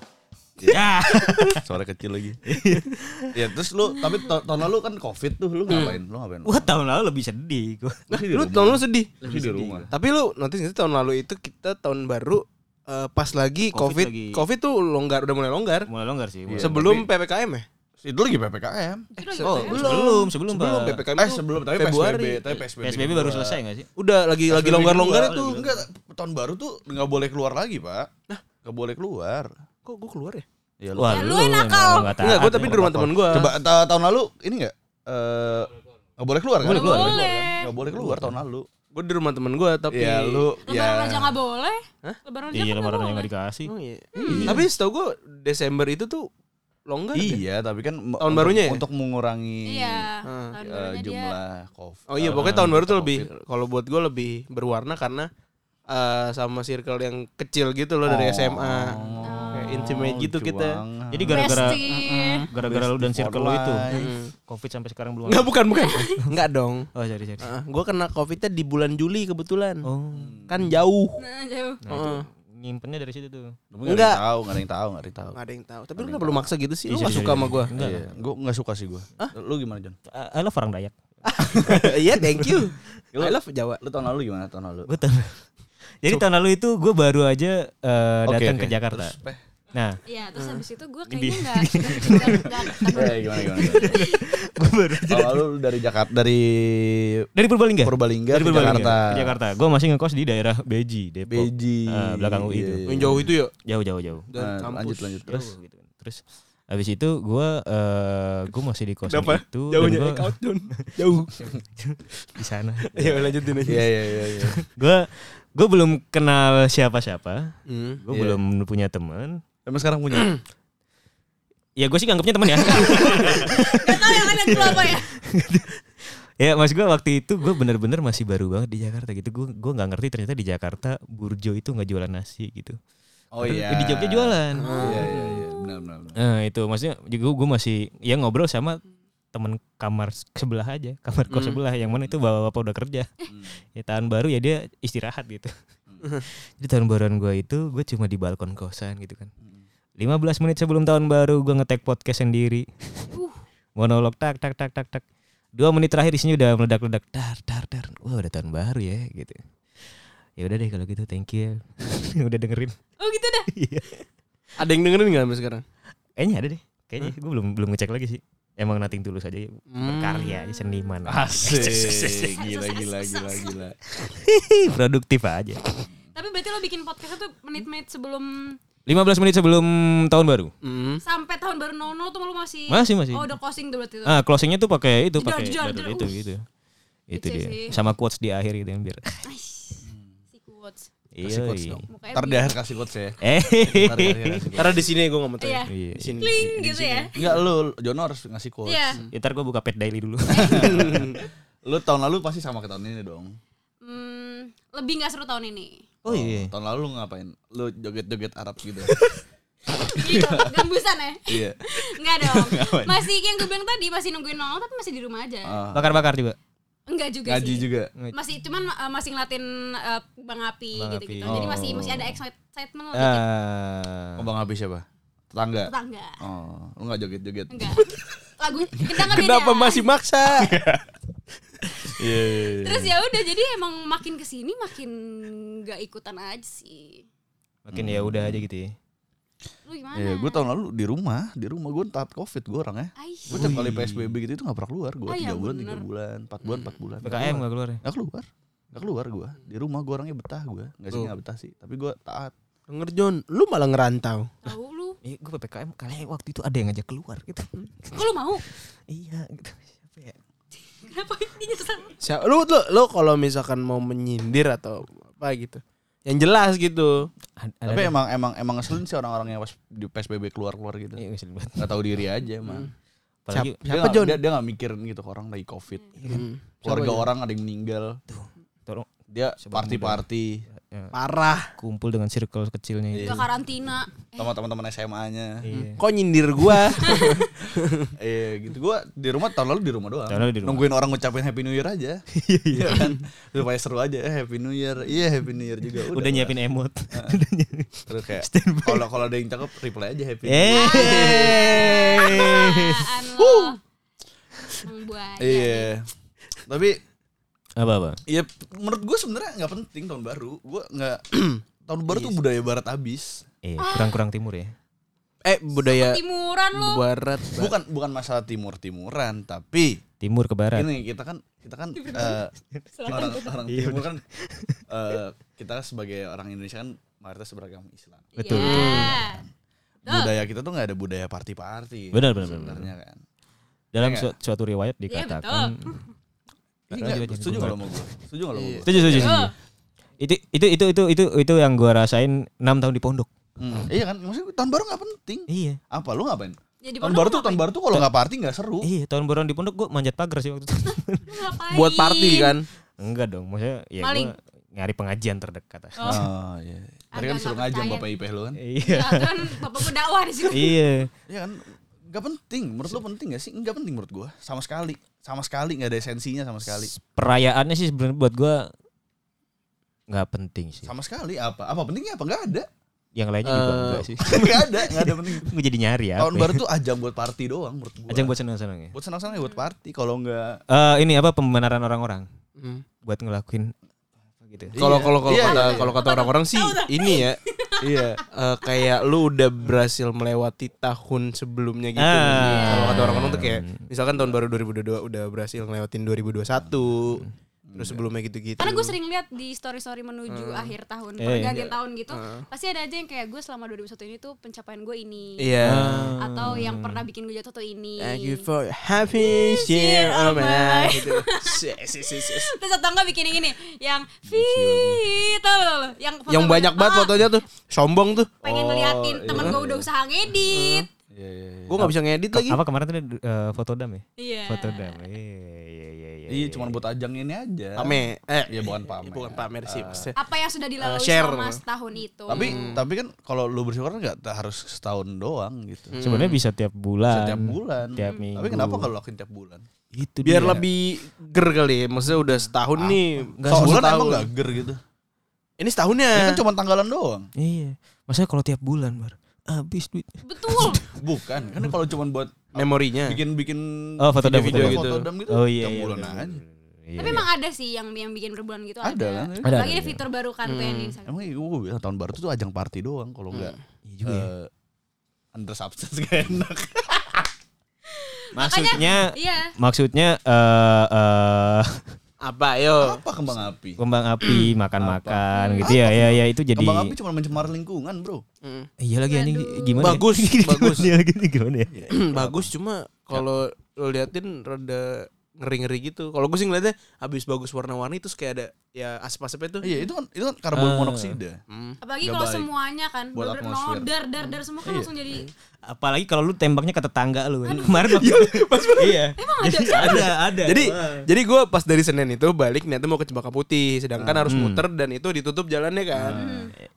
Speaker 9: Ya.
Speaker 8: Suara kecil lagi. ya terus lu tapi ta- tahun lalu kan covid tuh lu ngapain? Lu ngapain?
Speaker 9: Wah, tahun lalu lebih sedih gua.
Speaker 8: Masih di
Speaker 5: Lu
Speaker 8: rumah.
Speaker 5: tahun lu sedih.
Speaker 8: Masih di rumah.
Speaker 5: Tapi lu nanti sih tahun lalu itu kita tahun baru eh, pas lagi
Speaker 9: Covid
Speaker 5: covid
Speaker 9: lagi. Iya,
Speaker 5: covid, tuh longgar udah mulai longgar.
Speaker 9: Mulai longgar sih. mulai.
Speaker 5: Sebelum PPKM ya?
Speaker 8: Itu lagi PPKM.
Speaker 9: Oh, sebelum, sebelum,
Speaker 5: Sebelum
Speaker 9: Pak.
Speaker 5: PPKM
Speaker 8: Eh
Speaker 5: tuh
Speaker 8: sebelum tapi
Speaker 5: Februari.
Speaker 8: PSBB, tapi PSBB,
Speaker 9: PSBB
Speaker 8: kedua.
Speaker 9: baru selesai gak sih?
Speaker 5: Udah lagi lagi longgar-longgar
Speaker 8: Kedua,
Speaker 5: itu.
Speaker 8: enggak tahun baru tuh nggak boleh keluar lagi, Pak.
Speaker 5: Nah.
Speaker 8: Nggak boleh keluar.
Speaker 5: Kok gue keluar ya?
Speaker 8: Ya lu.
Speaker 9: Wah,
Speaker 7: lu yang nakal.
Speaker 9: nggak taat
Speaker 5: Enggak, gue
Speaker 9: ya.
Speaker 5: tapi di rumah temen gue.
Speaker 8: Coba ta- tahun lalu ini enggak eh nggak boleh keluar kan?
Speaker 9: Boleh keluar.
Speaker 7: Boleh.
Speaker 8: Nggak boleh keluar tahun lalu.
Speaker 5: Gue di rumah temen gue tapi
Speaker 8: Ya lu
Speaker 5: iya.
Speaker 7: Lebaran
Speaker 8: ya
Speaker 7: aja gak boleh. Lebaran aja
Speaker 9: Iya,
Speaker 7: kan
Speaker 9: lebaran
Speaker 7: nggak
Speaker 9: yang
Speaker 7: boleh.
Speaker 9: gak dikasih.
Speaker 5: Oh, iya. Tapi setahu gue Desember itu tuh longgar. deh.
Speaker 8: Iya, tapi kan me-
Speaker 5: Tahun
Speaker 8: untuk-
Speaker 5: barunya ya?
Speaker 8: untuk mengurangi
Speaker 7: Iya.
Speaker 5: Ah.
Speaker 7: Tahun
Speaker 8: eh,
Speaker 7: barunya dia
Speaker 8: jumlah covid.
Speaker 5: Oh iya, pokoknya tahun baru tuh lebih kalau buat gue lebih berwarna karena eh, sama circle yang kecil gitu loh dari
Speaker 7: Oh.
Speaker 5: SMA. Kayak intimate gitu kita.
Speaker 9: Jadi gara-gara
Speaker 7: Bestie.
Speaker 9: gara-gara lu dan
Speaker 8: Best
Speaker 9: circle
Speaker 8: for
Speaker 9: lu itu
Speaker 8: life.
Speaker 9: Covid sampai sekarang belum.
Speaker 5: Enggak, bukan, bukan. <laughs> Enggak dong.
Speaker 9: Oh, sorry, sorry.
Speaker 5: Heeh, gue kena covidnya di bulan Juli kebetulan.
Speaker 9: Oh.
Speaker 5: Kan jauh.
Speaker 7: Nah, jauh.
Speaker 5: Heeh.
Speaker 9: Nyimpennya dari situ tuh.
Speaker 5: Enggak.
Speaker 8: Enggak ada yang tahu, enggak ada yang tahu, enggak ada yang tahu.
Speaker 5: Nggak ada yang tahu. Tapi lu nggak perlu maksa gitu sih. Lu
Speaker 9: Iya,
Speaker 5: nggak
Speaker 9: iya,
Speaker 5: suka
Speaker 9: iya.
Speaker 5: sama gue.
Speaker 9: Enggak.
Speaker 8: Iya, gua enggak suka sih gua. Lu gimana, Jon?
Speaker 9: I love orang eh, Dayak.
Speaker 5: Iya, thank you. I love Jawa.
Speaker 8: Lu tahun lalu gimana tahun lalu?
Speaker 9: <laughs>
Speaker 8: Iya,
Speaker 9: Betul. Jadi tahun lalu itu gue baru aja eh,
Speaker 8: Oke,
Speaker 9: datang
Speaker 8: oke.
Speaker 9: ke Jakarta.
Speaker 8: Peh.
Speaker 9: Nah,
Speaker 7: Iya, terus habis itu gue kayaknya nggak nggak- nggak- nggak-
Speaker 8: Eh gimana gimana?
Speaker 9: <laughs>
Speaker 8: gimana?
Speaker 9: gue baru
Speaker 8: Kalau lu dari Jakarta dari
Speaker 9: dari Purbalingga.
Speaker 8: Purbalingga
Speaker 9: Iya, dari
Speaker 8: ke Jakarta.
Speaker 9: Ke Jakarta. Gue masih ngekos di daerah Beji, Depok.
Speaker 8: Beji.
Speaker 9: Eh, belakang UI itu.
Speaker 5: Yang jauh itu ya.
Speaker 9: Jauh, jauh, jauh.
Speaker 8: Nah, Iya, lanjut
Speaker 9: <laughs>
Speaker 8: lanjut terus.
Speaker 9: Jauh gitu kan. Terus habis itu gue gue masih di kosan
Speaker 5: Kenapa?
Speaker 9: itu dan
Speaker 5: Jauhnya
Speaker 9: gua-
Speaker 5: account Jauh.
Speaker 9: di sana. <laughs>
Speaker 5: Ya lanjutin aja.
Speaker 8: Iya iya iya. iya.
Speaker 9: gue Gue belum kenal siapa-siapa.
Speaker 5: Hmm.
Speaker 9: Gue belum punya teman.
Speaker 8: <laughs> Emang sekarang
Speaker 9: <clears throat>
Speaker 8: punya?
Speaker 9: Ya gue sih nganggapnya teman ya. <laughs>
Speaker 7: Gak tau yang ada keluar apa ya
Speaker 9: ya mas gue waktu itu gue bener-bener masih baru banget di Jakarta gitu. Gue gue nggak ngerti ternyata di Jakarta burjo itu nggak jualan nasi gitu.
Speaker 8: Oh
Speaker 9: Padahal Di Jogja jualan.
Speaker 8: Iya iya iya benar benar. benar.
Speaker 9: Eh, itu maksudnya juga gue masih ya ngobrol sama temen kamar sebelah aja kamar kos sebelah yang mana itu bapak bapak udah kerja ya tahun baru ya dia istirahat gitu <laughs> jadi tahun baruan gue itu gue cuma di balkon kosan gitu kan 15 menit sebelum tahun baru gue ngetek podcast sendiri <laughs> monolog tak tak tak tak tak dua menit terakhir isinya udah meledak ledak dar dar dar wah udah tahun baru ya gitu ya udah deh kalau gitu thank you <laughs> udah dengerin
Speaker 7: Oh gitu dah
Speaker 5: Ada yang dengerin nggak sampai sekarang?
Speaker 9: Kayaknya ada deh. Kayaknya gue belum belum ngecek lagi sih. Emang nating tulus aja ya. Berkarya aja seniman.
Speaker 8: Asik gila gila gila gila.
Speaker 9: Ih, Produktif aja.
Speaker 7: Tapi berarti lo bikin podcast itu menit-menit sebelum
Speaker 9: 15 menit sebelum tahun baru.
Speaker 5: Hmm.
Speaker 7: Sampai tahun baru 00 tuh lo masih
Speaker 9: Masih, masih.
Speaker 7: Oh udah closing tuh berarti tuh
Speaker 9: Ah, closingnya tuh pakai itu
Speaker 7: Jedor,
Speaker 9: pakai
Speaker 7: jedor,
Speaker 9: jadul
Speaker 7: jedor.
Speaker 9: itu gitu. Itu
Speaker 7: Kece
Speaker 9: dia.
Speaker 7: Iya sih.
Speaker 9: Sama quotes di akhir gitu yang biar.
Speaker 7: Si quotes
Speaker 9: Iya. iya.
Speaker 7: Mukanya
Speaker 8: Ntar di akhir kasih quotes ya.
Speaker 9: Eh.
Speaker 8: Ntar di akhir kasih
Speaker 9: <laughs>
Speaker 8: quotes.
Speaker 5: Karena di sini gue nggak mau tahu.
Speaker 7: Iya
Speaker 9: Iya.
Speaker 5: Di sini.
Speaker 7: Kling gitu ya
Speaker 8: Enggak lu Jono harus ngasih quotes.
Speaker 7: Iya
Speaker 9: Ya, ntar gue buka pet daily dulu.
Speaker 8: Lu tahun lalu pasti sama ke tahun ini dong.
Speaker 7: Hmm, Lebih gak seru tahun ini
Speaker 9: <laughs> oh iya.
Speaker 8: Tahun lalu lu ngapain? Lu joget-joget Arab gitu.
Speaker 9: <laughs>
Speaker 7: <laughs> Gitu Gambusan ya
Speaker 8: Iya.
Speaker 7: Enggak
Speaker 9: <laughs>
Speaker 7: dong Masih yang gue bilang tadi Masih nungguin 00 tapi masih di rumah aja
Speaker 9: Ah. Bakar-bakar juga.
Speaker 7: Enggak juga
Speaker 8: Ngaji
Speaker 7: sih
Speaker 8: juga.
Speaker 7: masih cuman uh, masih ngelatin uh, Bang Api
Speaker 9: Bang
Speaker 7: gitu-gitu.
Speaker 9: Api. Oh.
Speaker 7: Jadi masih masih ada excitement lah
Speaker 9: Iya,
Speaker 7: dikit.
Speaker 9: Ah.
Speaker 8: Abang habis siapa? Tetangga.
Speaker 7: tetangga.
Speaker 8: Oh, lu enggak joget-joget. <laughs>
Speaker 7: Enggak. Lagu
Speaker 9: <laughs>
Speaker 7: kita enggak beda.
Speaker 5: Kenapa masih maksa?
Speaker 8: Iya,
Speaker 7: Terus ya udah jadi emang makin kesini makin nggak ikutan aja sih.
Speaker 9: Makin ya udah aja gitu ya.
Speaker 7: Lu gimana?
Speaker 8: Iya, gue tahun lalu di rumah, di rumah gue taat covid gue orangnya.
Speaker 7: Aish.
Speaker 8: Gue tiap kali PSBB gitu itu gak pernah keluar. Gue
Speaker 7: Ah,
Speaker 8: tiga
Speaker 7: iya,
Speaker 8: bulan,
Speaker 7: bener.
Speaker 8: tiga bulan, empat bulan, empat bulan.
Speaker 9: PKM gak keluar ya?
Speaker 8: Gak keluar, gak keluar gue. Di rumah gue orangnya betah gue, nggak sih nggak betah sih. Tapi gue taat.
Speaker 5: Denger John, lu malah ngerantau.
Speaker 7: Tahu lu.
Speaker 9: Iya, gue PPKM kali waktu itu ada yang ngajak keluar gitu.
Speaker 7: Kok lu mau?
Speaker 9: iya, gitu. Siapa ya?
Speaker 7: Kenapa ini nyesel?
Speaker 5: Siapa? Lu lu, lu kalau misalkan mau menyindir atau apa gitu. Yang jelas gitu.
Speaker 9: Ada- ada-
Speaker 8: Tapi emang emang emang ngeselin sih orang-orang yang pas di PSBB keluar-keluar gitu.
Speaker 9: Iya, ngeselin banget.
Speaker 8: Gak tahu diri aja emang.
Speaker 9: Apalagi
Speaker 5: Siap.
Speaker 8: Hmm. Dia
Speaker 5: Siapa,
Speaker 8: nggak-
Speaker 5: John?
Speaker 8: Dia, dia gak mikirin gitu ke orang lagi covid.
Speaker 7: Iya.
Speaker 5: Hmm.
Speaker 8: Keluarga orang ada yang meninggal.
Speaker 9: tolong
Speaker 8: Dia party-party
Speaker 5: Parah.
Speaker 9: kumpul dengan circle kecilnya itu.
Speaker 7: Udah karantina.
Speaker 8: sama teman-teman SMA-nya.
Speaker 5: Kok nyindir
Speaker 7: <laughs>
Speaker 5: gua?
Speaker 8: Iya gitu gua di rumah tahun lalu di rumah doang.
Speaker 9: Tahun lalu di rumah.
Speaker 8: Nungguin orang ngucapin Happy New Year
Speaker 9: <laughs>
Speaker 8: aja. Iya kan? Supaya seru aja eh, Happy New Year. Iya Happy New Year juga.
Speaker 9: Udah nyiapin <laughs> emot.
Speaker 8: Terus kayak kalau kalau ada yang cakep reply aja Happy. New Year.
Speaker 9: Eh.
Speaker 7: Apaan lu? Membuat.
Speaker 8: Iya. Tapi
Speaker 9: Apa apa?
Speaker 8: ya menurut gua sebenarnya nggak penting tahun baru. Gua nggak <clears throat> tahun baru tuh budaya barat abis.
Speaker 9: Iya, kurang-kurang timur ya.
Speaker 5: eh budaya
Speaker 7: Timuran lu.
Speaker 5: barat. Ba-
Speaker 8: Bukan bukan masalah timur timuran tapi
Speaker 9: Timur ke barat.
Speaker 8: ini kita kan kita kan eh, orang orang
Speaker 7: Iya,
Speaker 8: timur kan eh, kita sebagai orang Indonesia kan mayoritas beragama Islam.
Speaker 9: Betul.
Speaker 7: Iya.
Speaker 8: budaya kita tuh nggak ada budaya party-party
Speaker 9: Benar, benar,
Speaker 8: sebenarnya kan
Speaker 9: Dalam
Speaker 8: Iya.
Speaker 9: su- suatu riwayat dikatakan.
Speaker 8: Ini
Speaker 9: Iya,
Speaker 8: nggak-
Speaker 9: iya,
Speaker 8: setuju
Speaker 9: iya.
Speaker 8: nggak lo sama gue setuju nggak lo sama gue
Speaker 9: Setuju, setuju, setuju. Itu itu itu itu itu itu yang gua rasain 6 tahun di pondok.
Speaker 8: Hmm, iya kan maksudnya tahun baru nggak penting
Speaker 9: Iya. Kan-
Speaker 8: apa lu ngapain
Speaker 7: Ya, di
Speaker 8: tahun
Speaker 7: pondok
Speaker 8: baru tuh tahun baru tuh kalau nggak party nggak seru
Speaker 9: Iya, tahun baruan di pondok gua manjat pagar sih waktu itu. <laughs>
Speaker 7: Lu ngapain?
Speaker 5: Buat party kan.
Speaker 9: Enggak dong, maksudnya ya
Speaker 7: Maling.
Speaker 9: gua nyari pengajian terdekat.
Speaker 8: oh iya tadi kan
Speaker 7: Agak
Speaker 8: suruh
Speaker 7: nggak
Speaker 8: ngajam
Speaker 7: percaya.
Speaker 8: bapak ipeh lo kan
Speaker 9: Iya.
Speaker 7: Ya, kan bapak gue dakwah di situ.
Speaker 9: Iya.
Speaker 8: iya kan nggak penting menurut lo penting nggak sih nggak penting menurut gue sama sekali sama sekali nggak ada esensinya sama sekali
Speaker 9: Perayaannya sih sebenarnya buat gua nggak penting sih.
Speaker 8: Iya. sama sekali apa apa pentingnya apa nggak ada <laughs>
Speaker 9: Yang lainnya juga enggak sih. <laughs>
Speaker 8: nggak ada nggak ada penting
Speaker 9: Gua jadi nyari ya.
Speaker 8: tahun baru tuh ajang buat party doang menurut gue
Speaker 9: Ajang buat senang-senang ya.
Speaker 8: buat senang-senang ya buat party kalau nggak
Speaker 9: Eh ini apa pembenaran orang-orang
Speaker 5: Hmm.
Speaker 9: buat ngelakuin apa gitu.
Speaker 5: Kalau kalau kalau
Speaker 8: Iya,
Speaker 5: kata kalau kata orang-orang sih ini ya. iya, eh, kayak lu udah berhasil melewati tahun sebelumnya gitu.
Speaker 9: Ah.
Speaker 8: Hmm. Hmm.
Speaker 5: Kalau kata orang-orang tuh kayak misalkan tahun baru 2022 udah berhasil ngelewatin 2021. Terus sebelumnya gitu-gitu.
Speaker 7: Karena gue sering lihat di story-story menuju akhir tahun, pergantian tahun gitu, pasti ada aja yang kayak gue selama 2001 ini tuh pencapaian gue ini.
Speaker 5: Iya.
Speaker 8: Ah.
Speaker 7: Atau yang pernah bikin gue jatuh tuh ini.
Speaker 5: Thank you for happy year of my life. Gitu. <laughs> Yes, yes, yes, yes.
Speaker 7: <laughs> Terus atau enggak bikin yang ini, yang fit, tau lo, lo, yang Ah, foto
Speaker 5: Yang banyak banget fotonya tuh sombong tuh.
Speaker 7: pengen
Speaker 8: Oh,
Speaker 7: ngeliatin
Speaker 8: iya.
Speaker 7: temen gue udah usaha ngedit.
Speaker 5: Gue nggak bisa ngedit lagi.
Speaker 9: Apa kemarin tuh eh, foto dam ya?
Speaker 7: Iya.
Speaker 9: Foto dam. Iya iya iya iya.
Speaker 8: Iya, cuma buat ajang ini aja.
Speaker 5: Pame. Eh,
Speaker 8: Iya, Ah. bukan pamer.
Speaker 5: Bukan pamer sih. maksudnya.
Speaker 7: Apa yang sudah dilalui
Speaker 5: Eh, share.
Speaker 7: selama setahun itu?
Speaker 8: Tapi tapi kan kalau lu bersyukur nggak ta- harus setahun doang gitu.
Speaker 5: Hmm.
Speaker 9: Sebenarnya bisa tiap bulan.
Speaker 8: Setiap bulan. Hmm.
Speaker 9: Tiap minggu.
Speaker 8: Tapi kenapa kalau lakuin tiap bulan?
Speaker 9: itu
Speaker 5: Biar
Speaker 8: ya.
Speaker 9: dia.
Speaker 5: lebih ger kali. ya. Maksudnya udah setahun nih.
Speaker 8: Gak
Speaker 5: So-
Speaker 8: Ah, sebulan
Speaker 5: setahun.
Speaker 8: emang gak ger gitu.
Speaker 5: Ini setahunnya.
Speaker 8: Ini kan cuma tanggalan doang.
Speaker 9: Iya. Maksudnya kalau tiap bulan, Bar. Habis duit.
Speaker 8: <laughs>
Speaker 7: Betul.
Speaker 8: Bukan, kan kalau cuma buat
Speaker 5: memorinya.
Speaker 8: bikin-bikin
Speaker 9: Oh, foto dam,
Speaker 8: video,
Speaker 9: foto dam.
Speaker 8: gitu. Foto dam gitu.
Speaker 9: Oh iya
Speaker 8: tiap
Speaker 9: iya.
Speaker 8: bulan
Speaker 9: bener,
Speaker 8: aja.
Speaker 9: bener, bener. Iya,
Speaker 7: Tapi
Speaker 9: iya.
Speaker 7: emang ada sih yang yang bikin berbulan gitu
Speaker 8: Ada
Speaker 7: ada.
Speaker 8: kan?
Speaker 9: Ada,
Speaker 7: Lagi
Speaker 9: ada,
Speaker 7: ada fitur baru kan tuh yang di Instagram.
Speaker 8: Emang iya, gue bilang tahun baru tuh ajang party doang kalau nggak
Speaker 9: Iya juga ya.
Speaker 8: Hmm. eh, under substance <laughs> gak enak.
Speaker 9: Maksudnya
Speaker 7: Iya.
Speaker 9: maksudnya eh eh,
Speaker 5: Apa yo?
Speaker 8: Apa kembang api?
Speaker 9: kembang api makan-makan gitu ya. Ya ya itu jadi
Speaker 8: Kembang api cuma mencemar lingkungan, Bro.
Speaker 9: Iya lagi anjing gimana? ya?
Speaker 5: Bagus, bagus.
Speaker 9: <laughs>
Speaker 5: Iya.
Speaker 9: Gimana ya? Gini, gimana ya?
Speaker 5: <clears throat> bagus cuma kalau lo liatin rada ngeri-ngeri gitu. Kalau gue sih ngeliatnya habis bagus warna-warni terus kayak ada ya asap-asapnya tuh.
Speaker 8: Iya, itu kan itu kan karbon monoksida.
Speaker 7: Apalagi
Speaker 8: Gak
Speaker 7: kalau
Speaker 8: baik.
Speaker 7: semuanya kan
Speaker 8: Buat
Speaker 7: bener-bener
Speaker 8: atmosfer. Iya.
Speaker 7: nodar dar dar semua kan langsung jadi
Speaker 9: Apalagi kalau lu tembaknya ke tetangga lu. Kemarin waktu Iya. Emang ada ada ada.
Speaker 5: <laughs> Jadi jadi gue pas dari Senin itu balik niatnya mau ke Cempaka Putih, sedangkan harus
Speaker 9: Hmm.
Speaker 5: muter dan itu ditutup jalannya kan.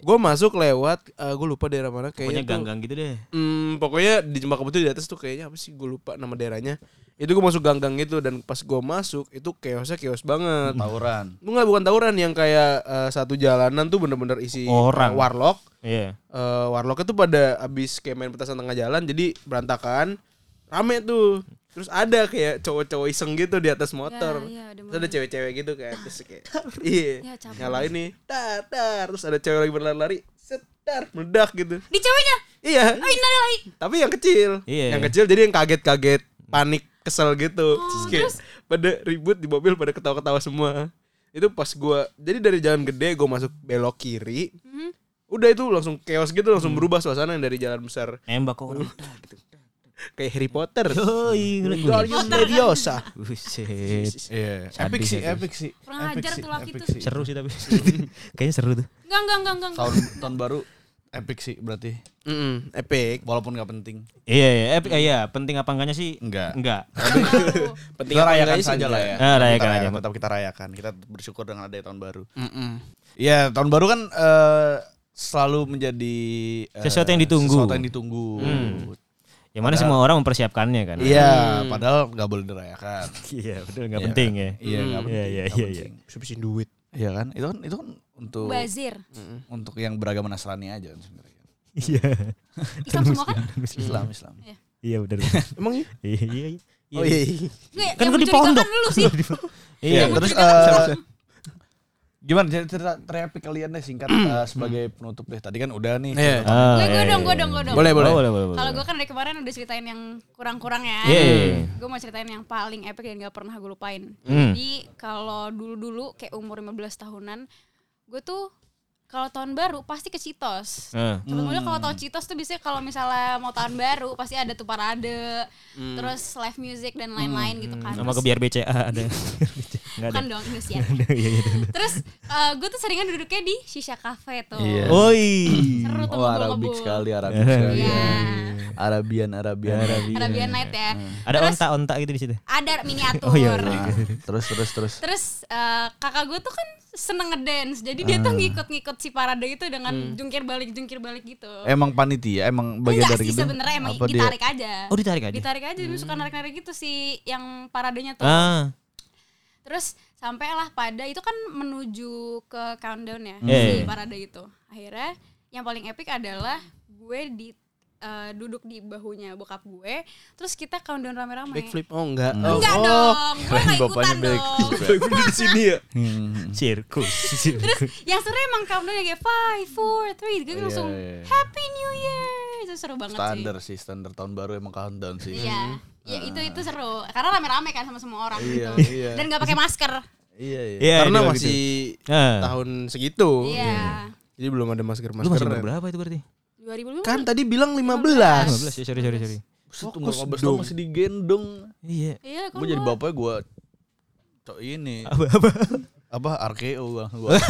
Speaker 5: Gue masuk lewat, gue lupa daerah mana
Speaker 9: Ah. pokoknya
Speaker 5: kayaknya. tuh-
Speaker 9: ganggang gitu deh.
Speaker 5: Hmm, pokoknya di Cempaka Putih di atas tuh kayaknya apa sih gue lupa nama daerahnya. Itu gue masuk gang-gang gitu dan pas gue masuk itu chaosnya chaos banget.
Speaker 9: Hmm.
Speaker 8: Tawuran.
Speaker 5: Enggak bukan tawuran yang kayak eh, satu jalanan tuh bener-bener isi
Speaker 9: Orang.
Speaker 5: eh, warlock.
Speaker 9: Iya.
Speaker 5: Eh, warlocknya tuh pada abis kayak main petasan tengah jalan jadi berantakan rame tuh terus ada kayak cowok-cowok iseng gitu di atas motor
Speaker 7: Ya, ya, ada
Speaker 5: terus ada cewek-cewek gitu kan terus
Speaker 7: <laughs>
Speaker 5: kayak
Speaker 7: Ya,
Speaker 5: iya
Speaker 7: cabul.
Speaker 5: nyalain nih tar tar terus ada cewek lagi berlari-lari setar meledak gitu
Speaker 7: di ceweknya.
Speaker 5: iya
Speaker 7: Oh, innalillahi.
Speaker 5: tapi yang kecil
Speaker 9: Iya.
Speaker 5: yang kecil jadi yang kaget-kaget panik kesel gitu
Speaker 7: Oh,
Speaker 5: terus kayak pada ribut di mobil pada ketawa-ketawa semua itu pas gua jadi dari jalan gede gua masuk belok kiri
Speaker 7: Hmm.
Speaker 5: udah itu langsung chaos gitu langsung berubah suasana yang dari jalan besar
Speaker 9: Nembak kok.
Speaker 5: kayak Harry Potter Gitu.
Speaker 9: Yoi,
Speaker 5: Wingardium Leviosa
Speaker 9: Buset.
Speaker 8: Iya,
Speaker 9: Sadis,
Speaker 8: epic sih,
Speaker 9: sadis.
Speaker 8: epic sih.
Speaker 7: Kurang
Speaker 8: Epic
Speaker 7: ajar
Speaker 8: sih,
Speaker 7: tuh laki
Speaker 8: epic
Speaker 7: tuh.
Speaker 8: sih.
Speaker 9: Seru sih tapi. Kayaknya seru tuh.
Speaker 7: Enggak enggak enggak enggak.
Speaker 8: Tahun tahun baru epic sih berarti.
Speaker 5: Mm-mm, epic
Speaker 8: Walaupun nggak penting.
Speaker 9: Iya, iya, eh, iya, penting apa enggaknya sih?
Speaker 8: Enggak.
Speaker 9: Enggak.
Speaker 5: penting
Speaker 8: <laughs> Kita
Speaker 5: apa
Speaker 8: rayakan
Speaker 5: enggak sih?
Speaker 8: saja lah ya.
Speaker 9: Ah, rayakan
Speaker 8: Kita
Speaker 9: aja.
Speaker 8: Tetap kita rayakan. Kita bersyukur dengan adanya tahun baru.
Speaker 5: Mm-mm.
Speaker 8: Iya, tahun baru kan eh, selalu menjadi eh,
Speaker 9: Sesuatu yang ditunggu. Hmm.
Speaker 8: Sesuatu yang ditunggu.
Speaker 9: Yang Ya mana semua orang mempersiapkannya kan?
Speaker 8: Iya, padahal nggak boleh dirayakan.
Speaker 9: <laughs> Iya, betul enggak penting ya.
Speaker 8: Iya, nggak
Speaker 9: Iya,
Speaker 8: penting,
Speaker 9: iya,
Speaker 8: nggak
Speaker 9: iya, iya.
Speaker 8: penting. Subisin duit. Iya kan? Itu kan itu kan untuk
Speaker 9: <laughs>
Speaker 7: Bazir.
Speaker 8: untuk yang beragama Nasrani aja kan sebenarnya. Hmm.
Speaker 9: Iya.
Speaker 7: Islam semua
Speaker 9: ya.
Speaker 7: kan?
Speaker 8: Islam, Islam.
Speaker 9: Iya, benar.
Speaker 5: emang iya
Speaker 9: <laughs> Iya, iya. iya.
Speaker 5: oh iya, iya.
Speaker 7: Nggak,
Speaker 9: Kan
Speaker 7: yang
Speaker 9: gua di
Speaker 7: mencurigakan
Speaker 9: pondok.
Speaker 7: Lu
Speaker 9: <laughs>
Speaker 7: sih.
Speaker 9: Iya.
Speaker 8: Iya, terus eh, gimana cerita, cerita terapik kalian deh singkat eh, sebagai penutup deh. Tadi kan udah nih.
Speaker 5: Iya.
Speaker 7: Gue
Speaker 9: Ah,
Speaker 7: gue
Speaker 9: Hmm. iya,
Speaker 7: dong,
Speaker 9: iya.
Speaker 7: gue dong, gue dong.
Speaker 5: boleh boleh
Speaker 9: Oh, boleh, boleh, boleh.
Speaker 7: Kalau gue kan dari kemarin udah ceritain yang kurang-kurang ya.
Speaker 9: Iya, iya, iya.
Speaker 7: Gue mau ceritain yang paling epic dan gak pernah gue lupain.
Speaker 9: Hmm.
Speaker 7: Jadi kalau dulu-dulu kayak umur 15 tahunan, gue tuh kalau tahun baru pasti ke Citos.
Speaker 9: Ah.
Speaker 7: Sebetulnya kalau tahun Citos tuh biasanya kalau misalnya mau tahun baru pasti ada tuh parade, terus live music dan lain-lain gitu kan.
Speaker 9: Hmm. Sama
Speaker 7: Terus-
Speaker 9: ke biar BCA ada. Enggak ada.
Speaker 7: Bukan dong
Speaker 9: <laughs>
Speaker 7: Indonesia.
Speaker 9: Iya, iya.
Speaker 7: terus eh, gue tuh seringan duduknya di Shisha Cafe tuh.
Speaker 9: Oi.
Speaker 7: Seru tuh
Speaker 8: Oh, Arabik
Speaker 7: ngobrol-ngobrol.
Speaker 8: sekali, Arabik sekali.
Speaker 7: Iya.
Speaker 8: Arabian, Arabian,
Speaker 9: iya,
Speaker 8: Arabian.
Speaker 7: Arabian Night ya.
Speaker 9: Ada onta-onta gitu di situ.
Speaker 7: Ada miniatur.
Speaker 9: Hmm. Oh, iya, iya.
Speaker 8: Nah, terus terus terus.
Speaker 7: Terus eh, kakak gue tuh kan seneng ngedance, jadi dia
Speaker 8: Hmm.
Speaker 7: tuh ngikut-ngikut si parade itu dengan jungkir balik jungkir balik gitu.
Speaker 8: Emang panitia, emang Hmm. Eh, bagian
Speaker 7: Enggak
Speaker 8: dari
Speaker 7: sih
Speaker 8: gitu.
Speaker 7: sebenarnya emang
Speaker 8: Apa dia? Hmm.
Speaker 7: ditarik aja.
Speaker 9: Oh, ditarik aja?
Speaker 7: Ditarik aja, dia suka narik-narik gitu sih yang paradenya tuh.
Speaker 9: Ah.
Speaker 7: Terus sampailah pada itu kan menuju ke countdown ya
Speaker 8: Hmm.
Speaker 9: Iya,
Speaker 7: si
Speaker 9: iya.
Speaker 7: parade itu. Akhirnya yang paling epic adalah gue di eh, duduk di bahunya bokap gue, terus kita countdown rame-rame.
Speaker 5: backflip oh enggak
Speaker 9: Mm.
Speaker 5: oh,
Speaker 7: Enggak dong, gue gak
Speaker 8: Bapaknya
Speaker 7: ikutan dong.
Speaker 5: backflip di sini ya
Speaker 9: Sirkus, sirkus.
Speaker 5: Gitu.
Speaker 7: yang seru emang countdown yang kayak five, four, three,
Speaker 5: Iya,
Speaker 7: gue langsung Happy New Year, itu seru banget Iya.
Speaker 8: Standar sih, standar tahun baru emang countdown sih.
Speaker 5: Hmm. Ah.
Speaker 7: sih. Iya, ya itu itu seru karena rame-rame kan sama semua orang gitu, dan gak pakai masker.
Speaker 5: Iya, iya.
Speaker 9: Iya,
Speaker 5: Karena
Speaker 9: dia bilang
Speaker 5: masih
Speaker 9: Nah.
Speaker 5: tahun segitu.
Speaker 7: Iya.
Speaker 5: Jadi belum ada masker
Speaker 9: Lu masih
Speaker 5: masker.
Speaker 9: umur berapa itu berarti?
Speaker 7: 2005
Speaker 5: Kan tadi bilang
Speaker 9: 15
Speaker 5: 15.
Speaker 9: ya, sorry sorry sorry.
Speaker 5: Fokus
Speaker 8: Fokus
Speaker 5: dong.
Speaker 8: dong. masih digendong.
Speaker 9: Iya.
Speaker 7: Iya,
Speaker 8: Gue jadi bapaknya gue cok ini
Speaker 9: Apa apa?
Speaker 8: apa arkeo gua. <laughs> Gua-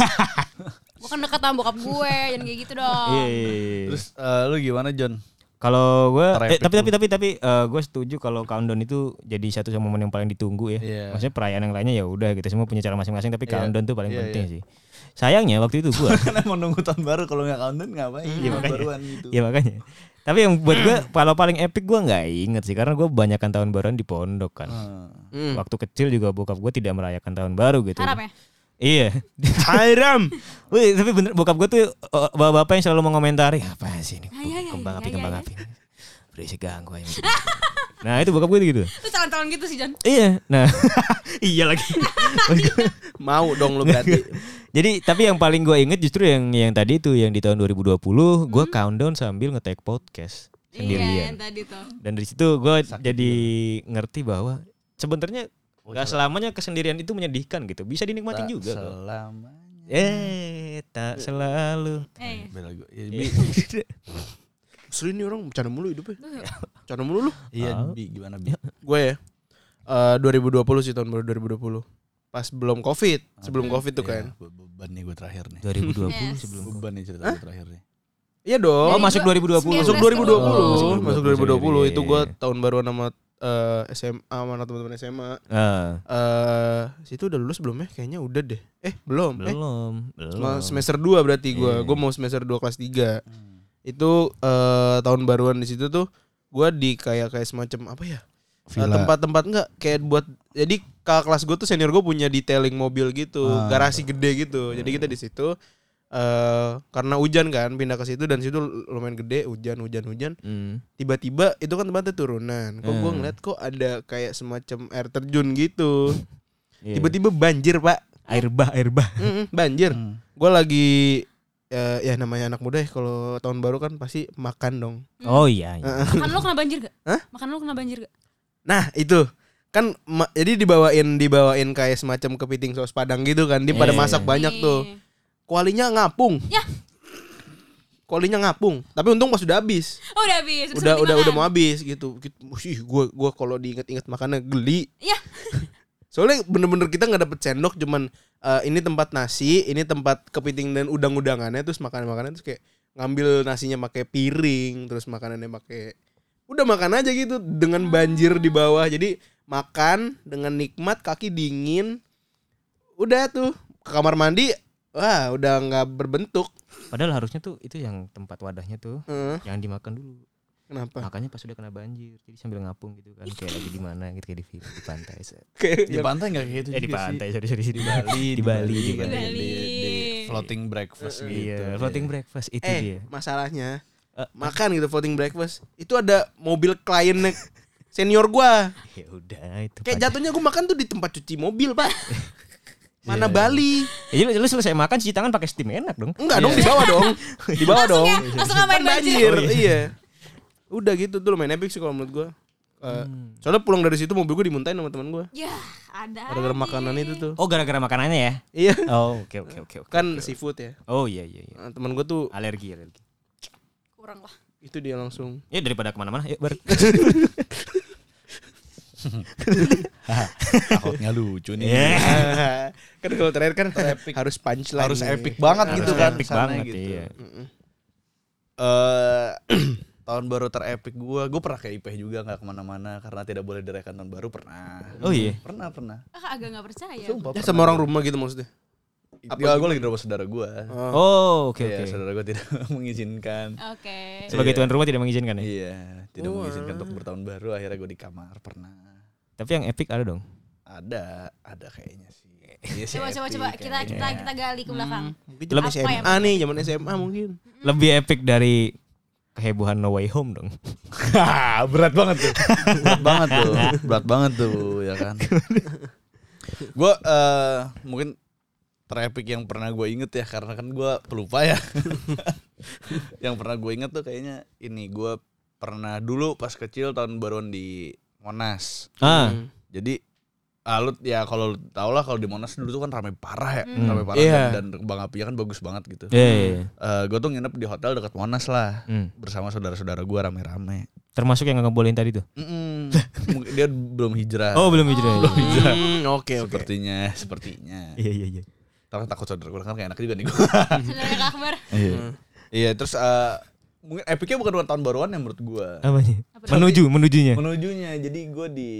Speaker 7: Bukan dekat kan sama bokap gue, jangan kayak gitu dong.
Speaker 9: Iya. iya, iya.
Speaker 8: Terus eh, lu gimana John?
Speaker 9: Kalau gue,
Speaker 8: Ntar
Speaker 9: eh,
Speaker 8: epic
Speaker 9: tapi tapi tapi tapi gue setuju kalau countdown itu jadi satu sama momen yang paling ditunggu ya.
Speaker 8: Iya.
Speaker 9: Maksudnya perayaan yang lainnya ya udah gitu semua punya cara masing-masing tapi countdown tuh paling
Speaker 8: Iya,
Speaker 9: penting sih. Sayangnya waktu itu gue,
Speaker 8: Karena mau Kan nunggu tahun baru kalau nggak countdown ngapain?
Speaker 9: Iya,
Speaker 8: Tahun
Speaker 9: makanya.
Speaker 8: baruan gitu.
Speaker 9: ya makanya. Tapi yang buat
Speaker 7: <clears throat>
Speaker 9: gue kalau paling epic gue nggak inget sih karena gue banyakkan tahun baruan di pondok kan.
Speaker 7: Ah.
Speaker 9: Waktu kecil juga bokap gue tidak merayakan tahun baru gitu.
Speaker 7: Harap ya.
Speaker 9: Iya.
Speaker 5: Haram.
Speaker 9: <laughs> Wih, tapi bener bokap gue tuh eh, bapak-bapak yang selalu mengomentari apa sih ini
Speaker 7: Ah, iya, iya, iya,
Speaker 9: kembang api
Speaker 7: iya,
Speaker 9: kembang
Speaker 7: iya.
Speaker 9: api. Berisik ganggu aja. nah itu bokap gue gitu.
Speaker 7: Lu calon-calon gitu sih, Jon.
Speaker 9: Iya. Nah, <laughs> iya lagi.
Speaker 5: Mau dong lu <laughs> berarti.
Speaker 9: Jadi tapi yang paling gue inget justru yang yang tadi itu yang di tahun 2020 gue countdown sambil ngetek podcast
Speaker 7: Hmm. Iya, yang
Speaker 9: sendirian.
Speaker 7: tadi tuh.
Speaker 9: Dan dari situ gue jadi ngerti bahwa sebenarnya nggak selamanya kesendirian itu menyedihkan gitu. Bisa dinikmatin juga. kok.
Speaker 8: Selamanya.
Speaker 9: Eh, tak selalu.
Speaker 7: Eh,
Speaker 8: Bela gua. Iya, Bi.
Speaker 9: Eh.
Speaker 5: Sering nih orang bercanda mulu
Speaker 9: <laughs>
Speaker 5: hidupnya. Bercanda mulu lu.
Speaker 8: Iya, Bi, gimana Bi?
Speaker 5: Gue ya. eh, 2020 sih tahun baru 2020. Pas belum Covid, sebelum Covid tuh kan.
Speaker 8: Iya, be- beban nih gue terakhir nih. <laughs>
Speaker 9: 2020
Speaker 7: Yes.
Speaker 9: sebelum Covid.
Speaker 8: Beban nih cerita gue terakhir nih.
Speaker 5: Iya dong.
Speaker 9: Oh, masuk 2020.
Speaker 5: masuk
Speaker 7: 19.
Speaker 5: 2020.
Speaker 9: Oh,
Speaker 5: masuk 2020 itu
Speaker 9: 2020, iya,
Speaker 5: gue
Speaker 9: iya.
Speaker 5: tahun baru nama eh, SMA sama anak teman-teman SMA.
Speaker 9: Eh,
Speaker 5: Eh, situ udah lulus belum ya? Kayaknya udah deh. Eh, belum. Eh,
Speaker 9: belum, belum.
Speaker 5: Cuma semester 2 berarti gua.
Speaker 9: Iya. Hmm.
Speaker 5: Gua mau semester 2 kelas 3. Itu eh, tahun baruan di situ tuh gua di kayak kayak semacam apa ya? Eh, Tempat-tempat enggak kayak buat jadi kakak kelas gue tuh senior gue punya detailing mobil gitu,
Speaker 9: Ah.
Speaker 5: garasi gede gitu.
Speaker 9: Iya,
Speaker 5: Jadi kita di situ eh karena hujan kan pindah ke situ dan situ lumayan gede hujan hujan hujan
Speaker 9: Hmm.
Speaker 5: tiba-tiba itu kan tempatnya turunan kok gua ngeliat kok ada kayak semacam air terjun gitu
Speaker 9: <laughs> Iya.
Speaker 5: tiba-tiba banjir pak
Speaker 9: air bah, air bah.
Speaker 5: Mm-mm, <laughs> banjir.
Speaker 9: Hmm.
Speaker 5: Gue lagi eh, ya namanya anak muda ya kalau tahun baru kan pasti makan dong.
Speaker 9: Oh iya. iya.
Speaker 7: Makan lu kena banjir gak?
Speaker 5: Hah?
Speaker 7: Makan lu kena banjir gak?
Speaker 5: Nah, itu. Kan ma- jadi dibawain dibawain kayak semacam kepiting saus padang gitu kan. Dia pada
Speaker 9: Iya,
Speaker 5: masak
Speaker 9: iya.
Speaker 5: banyak tuh.
Speaker 7: Iya.
Speaker 5: Kualinya ngapung.
Speaker 7: Yah.
Speaker 5: Kualinya ngapung. Tapi untung pas udah habis.
Speaker 7: Oh, udah habis. Terus
Speaker 5: Udah
Speaker 7: berarti
Speaker 5: udah
Speaker 7: makan.
Speaker 5: udah mau habis gitu. Gitu. Ih, gua gua kalau diinget-inget makannya geli.
Speaker 7: Iya.
Speaker 5: <laughs> Soalnya bener-bener kita nggak dapet sendok, cuman eh, ini tempat nasi, ini tempat kepiting dan udang-udangannya, terus makanan-makanan terus kayak ngambil nasinya pakai piring, terus makanannya pakai udah makan aja gitu dengan banjir di bawah. Jadi makan dengan nikmat, kaki dingin, udah tuh ke kamar mandi, wah udah nggak berbentuk.
Speaker 9: Padahal harusnya tuh itu yang tempat wadahnya tuh
Speaker 5: Heeh,
Speaker 9: yang dimakan dulu.
Speaker 5: kenapa?
Speaker 9: Makanya pas udah kena banjir, jadi sambil ngapung gitu kan kayak lagi di mana gitu kayak di, di pantai. set.
Speaker 5: Kayak
Speaker 8: Di pantai nggak kayak gitu
Speaker 9: Eh di
Speaker 8: juga sih.
Speaker 9: pantai, sorry sorry di Bali,
Speaker 8: Bali,
Speaker 9: di Bali, di
Speaker 8: kan,
Speaker 9: Bali.
Speaker 7: Bali.
Speaker 8: di floating breakfast gitu.
Speaker 9: Iya,
Speaker 8: <laughs>
Speaker 9: floating breakfast itu dia.
Speaker 5: Eh, masalahnya
Speaker 9: ya. Eh.
Speaker 5: makan gitu floating breakfast itu ada mobil kliennya senior gua.
Speaker 9: Ya udah itu.
Speaker 5: Kayak
Speaker 9: pantai.
Speaker 5: jatuhnya gua makan tuh di tempat cuci mobil,
Speaker 9: <laughs>
Speaker 5: Pak. Mana Bali?
Speaker 9: Ya, lu, lu selesai makan cuci tangan pakai steam enak dong.
Speaker 5: Enggak dong, di bawah dong.
Speaker 9: <laughs> Iya.
Speaker 5: Di bawah dong.
Speaker 7: ya, langsung ngapain
Speaker 5: Kan
Speaker 7: banjir.
Speaker 9: Oh,
Speaker 5: banjir, iya. Udah gitu tuh lumayan epic sih kalau menurut gua. Eh,
Speaker 9: Hmm.
Speaker 5: Soalnya pulang dari situ mobil gua dimuntahin sama teman gua.
Speaker 7: Ya, ada.
Speaker 5: Gara-gara makanan itu tuh.
Speaker 9: Oh gara-gara makanannya ya?
Speaker 5: Iya.
Speaker 9: Oh oke oke oke. oke.
Speaker 5: <laughs> Kan seafood ya.
Speaker 9: Oh iya iya iya.
Speaker 5: Nah, Teman gua tuh
Speaker 9: Alergi alergi.
Speaker 7: Kurang lah.
Speaker 5: itu dia
Speaker 9: <laughs>
Speaker 5: langsung. <laughs>
Speaker 9: Ya daripada kemana-mana, yuk bar.
Speaker 8: Takut nggak lucu nih.
Speaker 9: Iya.
Speaker 5: kan kalau terakhir kan harus punchline. ya.
Speaker 8: Harus epic banget gitu kan.
Speaker 9: Epic
Speaker 8: kesannya
Speaker 9: banget
Speaker 8: gitu.
Speaker 9: iya.
Speaker 8: Eh, <clears throat> tahun baru terepik gue, gue pernah ke IPH juga nggak kemana-mana karena tidak boleh dirayakan tahun baru pernah.
Speaker 9: Oh iya.
Speaker 8: Pernah pernah.
Speaker 7: Ah, agak gak percaya.
Speaker 8: Sumpah
Speaker 5: Ya,
Speaker 8: pernah.
Speaker 5: sama orang rumah gitu maksudnya.
Speaker 8: Apa gue lagi di rumah saudara gue.
Speaker 9: Oh gitu? oke
Speaker 8: Iya,
Speaker 9: oke.
Speaker 8: saudara gue tidak <laughs> mengizinkan.
Speaker 7: Oke.
Speaker 9: Sebagai tuan rumah tidak mengizinkan ya.
Speaker 8: Iya, tidak mengizinkan untuk bertahun baru. Akhirnya gue di kamar pernah.
Speaker 9: Tapi yang epic ada dong.
Speaker 8: Hmm. Ada, ada kayaknya sih. <laughs> Iya sih,
Speaker 7: Coba coba
Speaker 8: epic
Speaker 7: coba kita
Speaker 8: kayaknya.
Speaker 7: kita kita gali ke belakang.
Speaker 5: Mungkin zaman
Speaker 7: Apa
Speaker 5: SMA
Speaker 7: ya?
Speaker 5: nih, zaman SMA mungkin.
Speaker 9: Lebih epic dari kehebohan No Way Home dong.
Speaker 8: Hah, berat banget tuh. berat banget tuh. Berat banget tuh, ya kan. gue mungkin terepik yang pernah gue inget ya karena kan gue pelupa ya. <laughs> yang pernah gue inget tuh kayaknya ini gue pernah dulu pas kecil tahun baruan di Monas.
Speaker 9: Ah.
Speaker 8: Jadi Ah, lu ya kalau lu tau lah kalau di Monas dulu tuh kan ramai parah ya, ramai parah
Speaker 5: Iya.
Speaker 8: dan, dan Bang Apia kan bagus banget gitu.
Speaker 9: Hmm. Iya, iya, iya.
Speaker 8: gue tuh nginep di hotel dekat Monas lah
Speaker 9: Hmm.
Speaker 8: bersama saudara-saudara gue rame-rame.
Speaker 9: Termasuk yang nggak bolehin tadi tuh.
Speaker 8: Mm-mm. Mungkin dia belum hijrah.
Speaker 9: Oh, belum hijrah.
Speaker 8: belum hijrah.
Speaker 5: Hmm, Oke oke.
Speaker 8: Sepertinya, sepertinya.
Speaker 9: <laughs> Iya, iya, iya.
Speaker 8: Tapi takut saudara gue kan kayak enak juga nih gue.
Speaker 7: Saudara Kak Akbar.
Speaker 8: Iya. Iya terus eh, mungkin epicnya bukan tahun baruan ya menurut gue.
Speaker 9: Apanya? Menuju, menujunya.
Speaker 8: Menujunya jadi gue di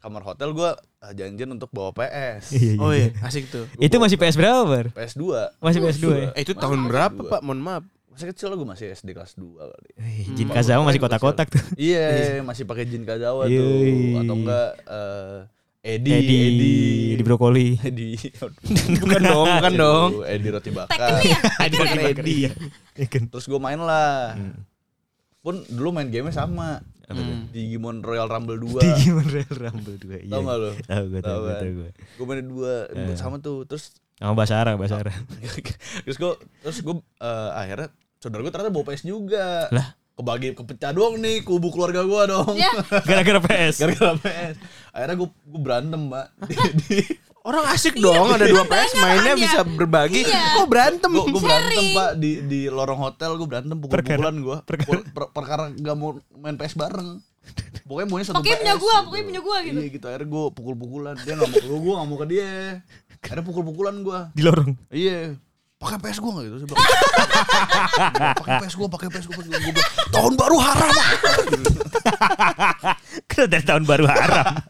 Speaker 8: kamar hotel gue eh, janjian untuk bawa PS.
Speaker 9: Iya, iya.
Speaker 5: Oh iya, asik tuh.
Speaker 9: Itu masih PS berapa, Bar?
Speaker 8: PS 2
Speaker 9: Masih PS2 ya?
Speaker 5: Eh, itu tahun berapa pak? Mohon maaf.
Speaker 8: Masih kecil gue masih SD kelas 2 kali.
Speaker 9: Eh, Jin Kazawa masih kotak-kotak tuh.
Speaker 8: Iya, masih pakai jin Kazawa
Speaker 9: Yoi.
Speaker 8: tuh atau enggak eh Edi
Speaker 9: iya. Edi,
Speaker 8: Edi
Speaker 9: di brokoli.
Speaker 8: <laughs>
Speaker 9: <laughs> Iya.
Speaker 8: Edi
Speaker 5: Bukan dong,
Speaker 9: kan
Speaker 5: bukan dong.
Speaker 8: Edi roti bakar.
Speaker 7: Tekken
Speaker 8: <laughs>
Speaker 7: ya?
Speaker 9: Ada Edi.
Speaker 8: iya.
Speaker 9: Iya, kan.
Speaker 8: Terus gue main lah. Pun dulu main game sama. Hmm. Digimon Royal Rumble 2.
Speaker 9: Digimon Royal Rumble 2. Iya.
Speaker 8: Tau gak lu?
Speaker 9: Tahu gue, tahu gue, tahu gue.
Speaker 8: Gue main dua sama tuh. Terus <laughs>
Speaker 9: Sama Basara, Basara.
Speaker 8: terus gue terus gue akhirnya saudara gue ternyata bawa PS juga.
Speaker 9: Lah.
Speaker 8: Kebagi kepecah doang nih kubu keluarga gue dong.
Speaker 7: Ya,
Speaker 9: Gara-gara PS.
Speaker 8: Gara-gara PS. Akhirnya gue gue berantem,
Speaker 7: <laughs>
Speaker 8: Mbak.
Speaker 5: Orang
Speaker 7: Iya,
Speaker 5: asik dong, ada dua PS mainnya bisa berbagi. Kok berantem?
Speaker 8: Gue gue berantem, Pak, di di lorong hotel gue berantem pukul-pukulan gue. Perkara, per- perkara gak mau main PS bareng. Pokoknya maunya satu
Speaker 7: Pokoknya
Speaker 8: PS.
Speaker 7: punya gua,
Speaker 8: gitu.
Speaker 7: pokoknya punya gua gitu.
Speaker 8: Iya gitu, akhirnya gue pukul-pukulan. Dia gak mau ke gue, gak mau ke dia. Akhirnya pukul-pukulan gue.
Speaker 9: Di lorong.
Speaker 8: Iya. Pakai PS gue gak gitu? Saya bilang, pakai PS gue, pakai PS gue. Gue bilang, tahun baru haram. Pak."
Speaker 9: Karena dari Kan tahun baru haram.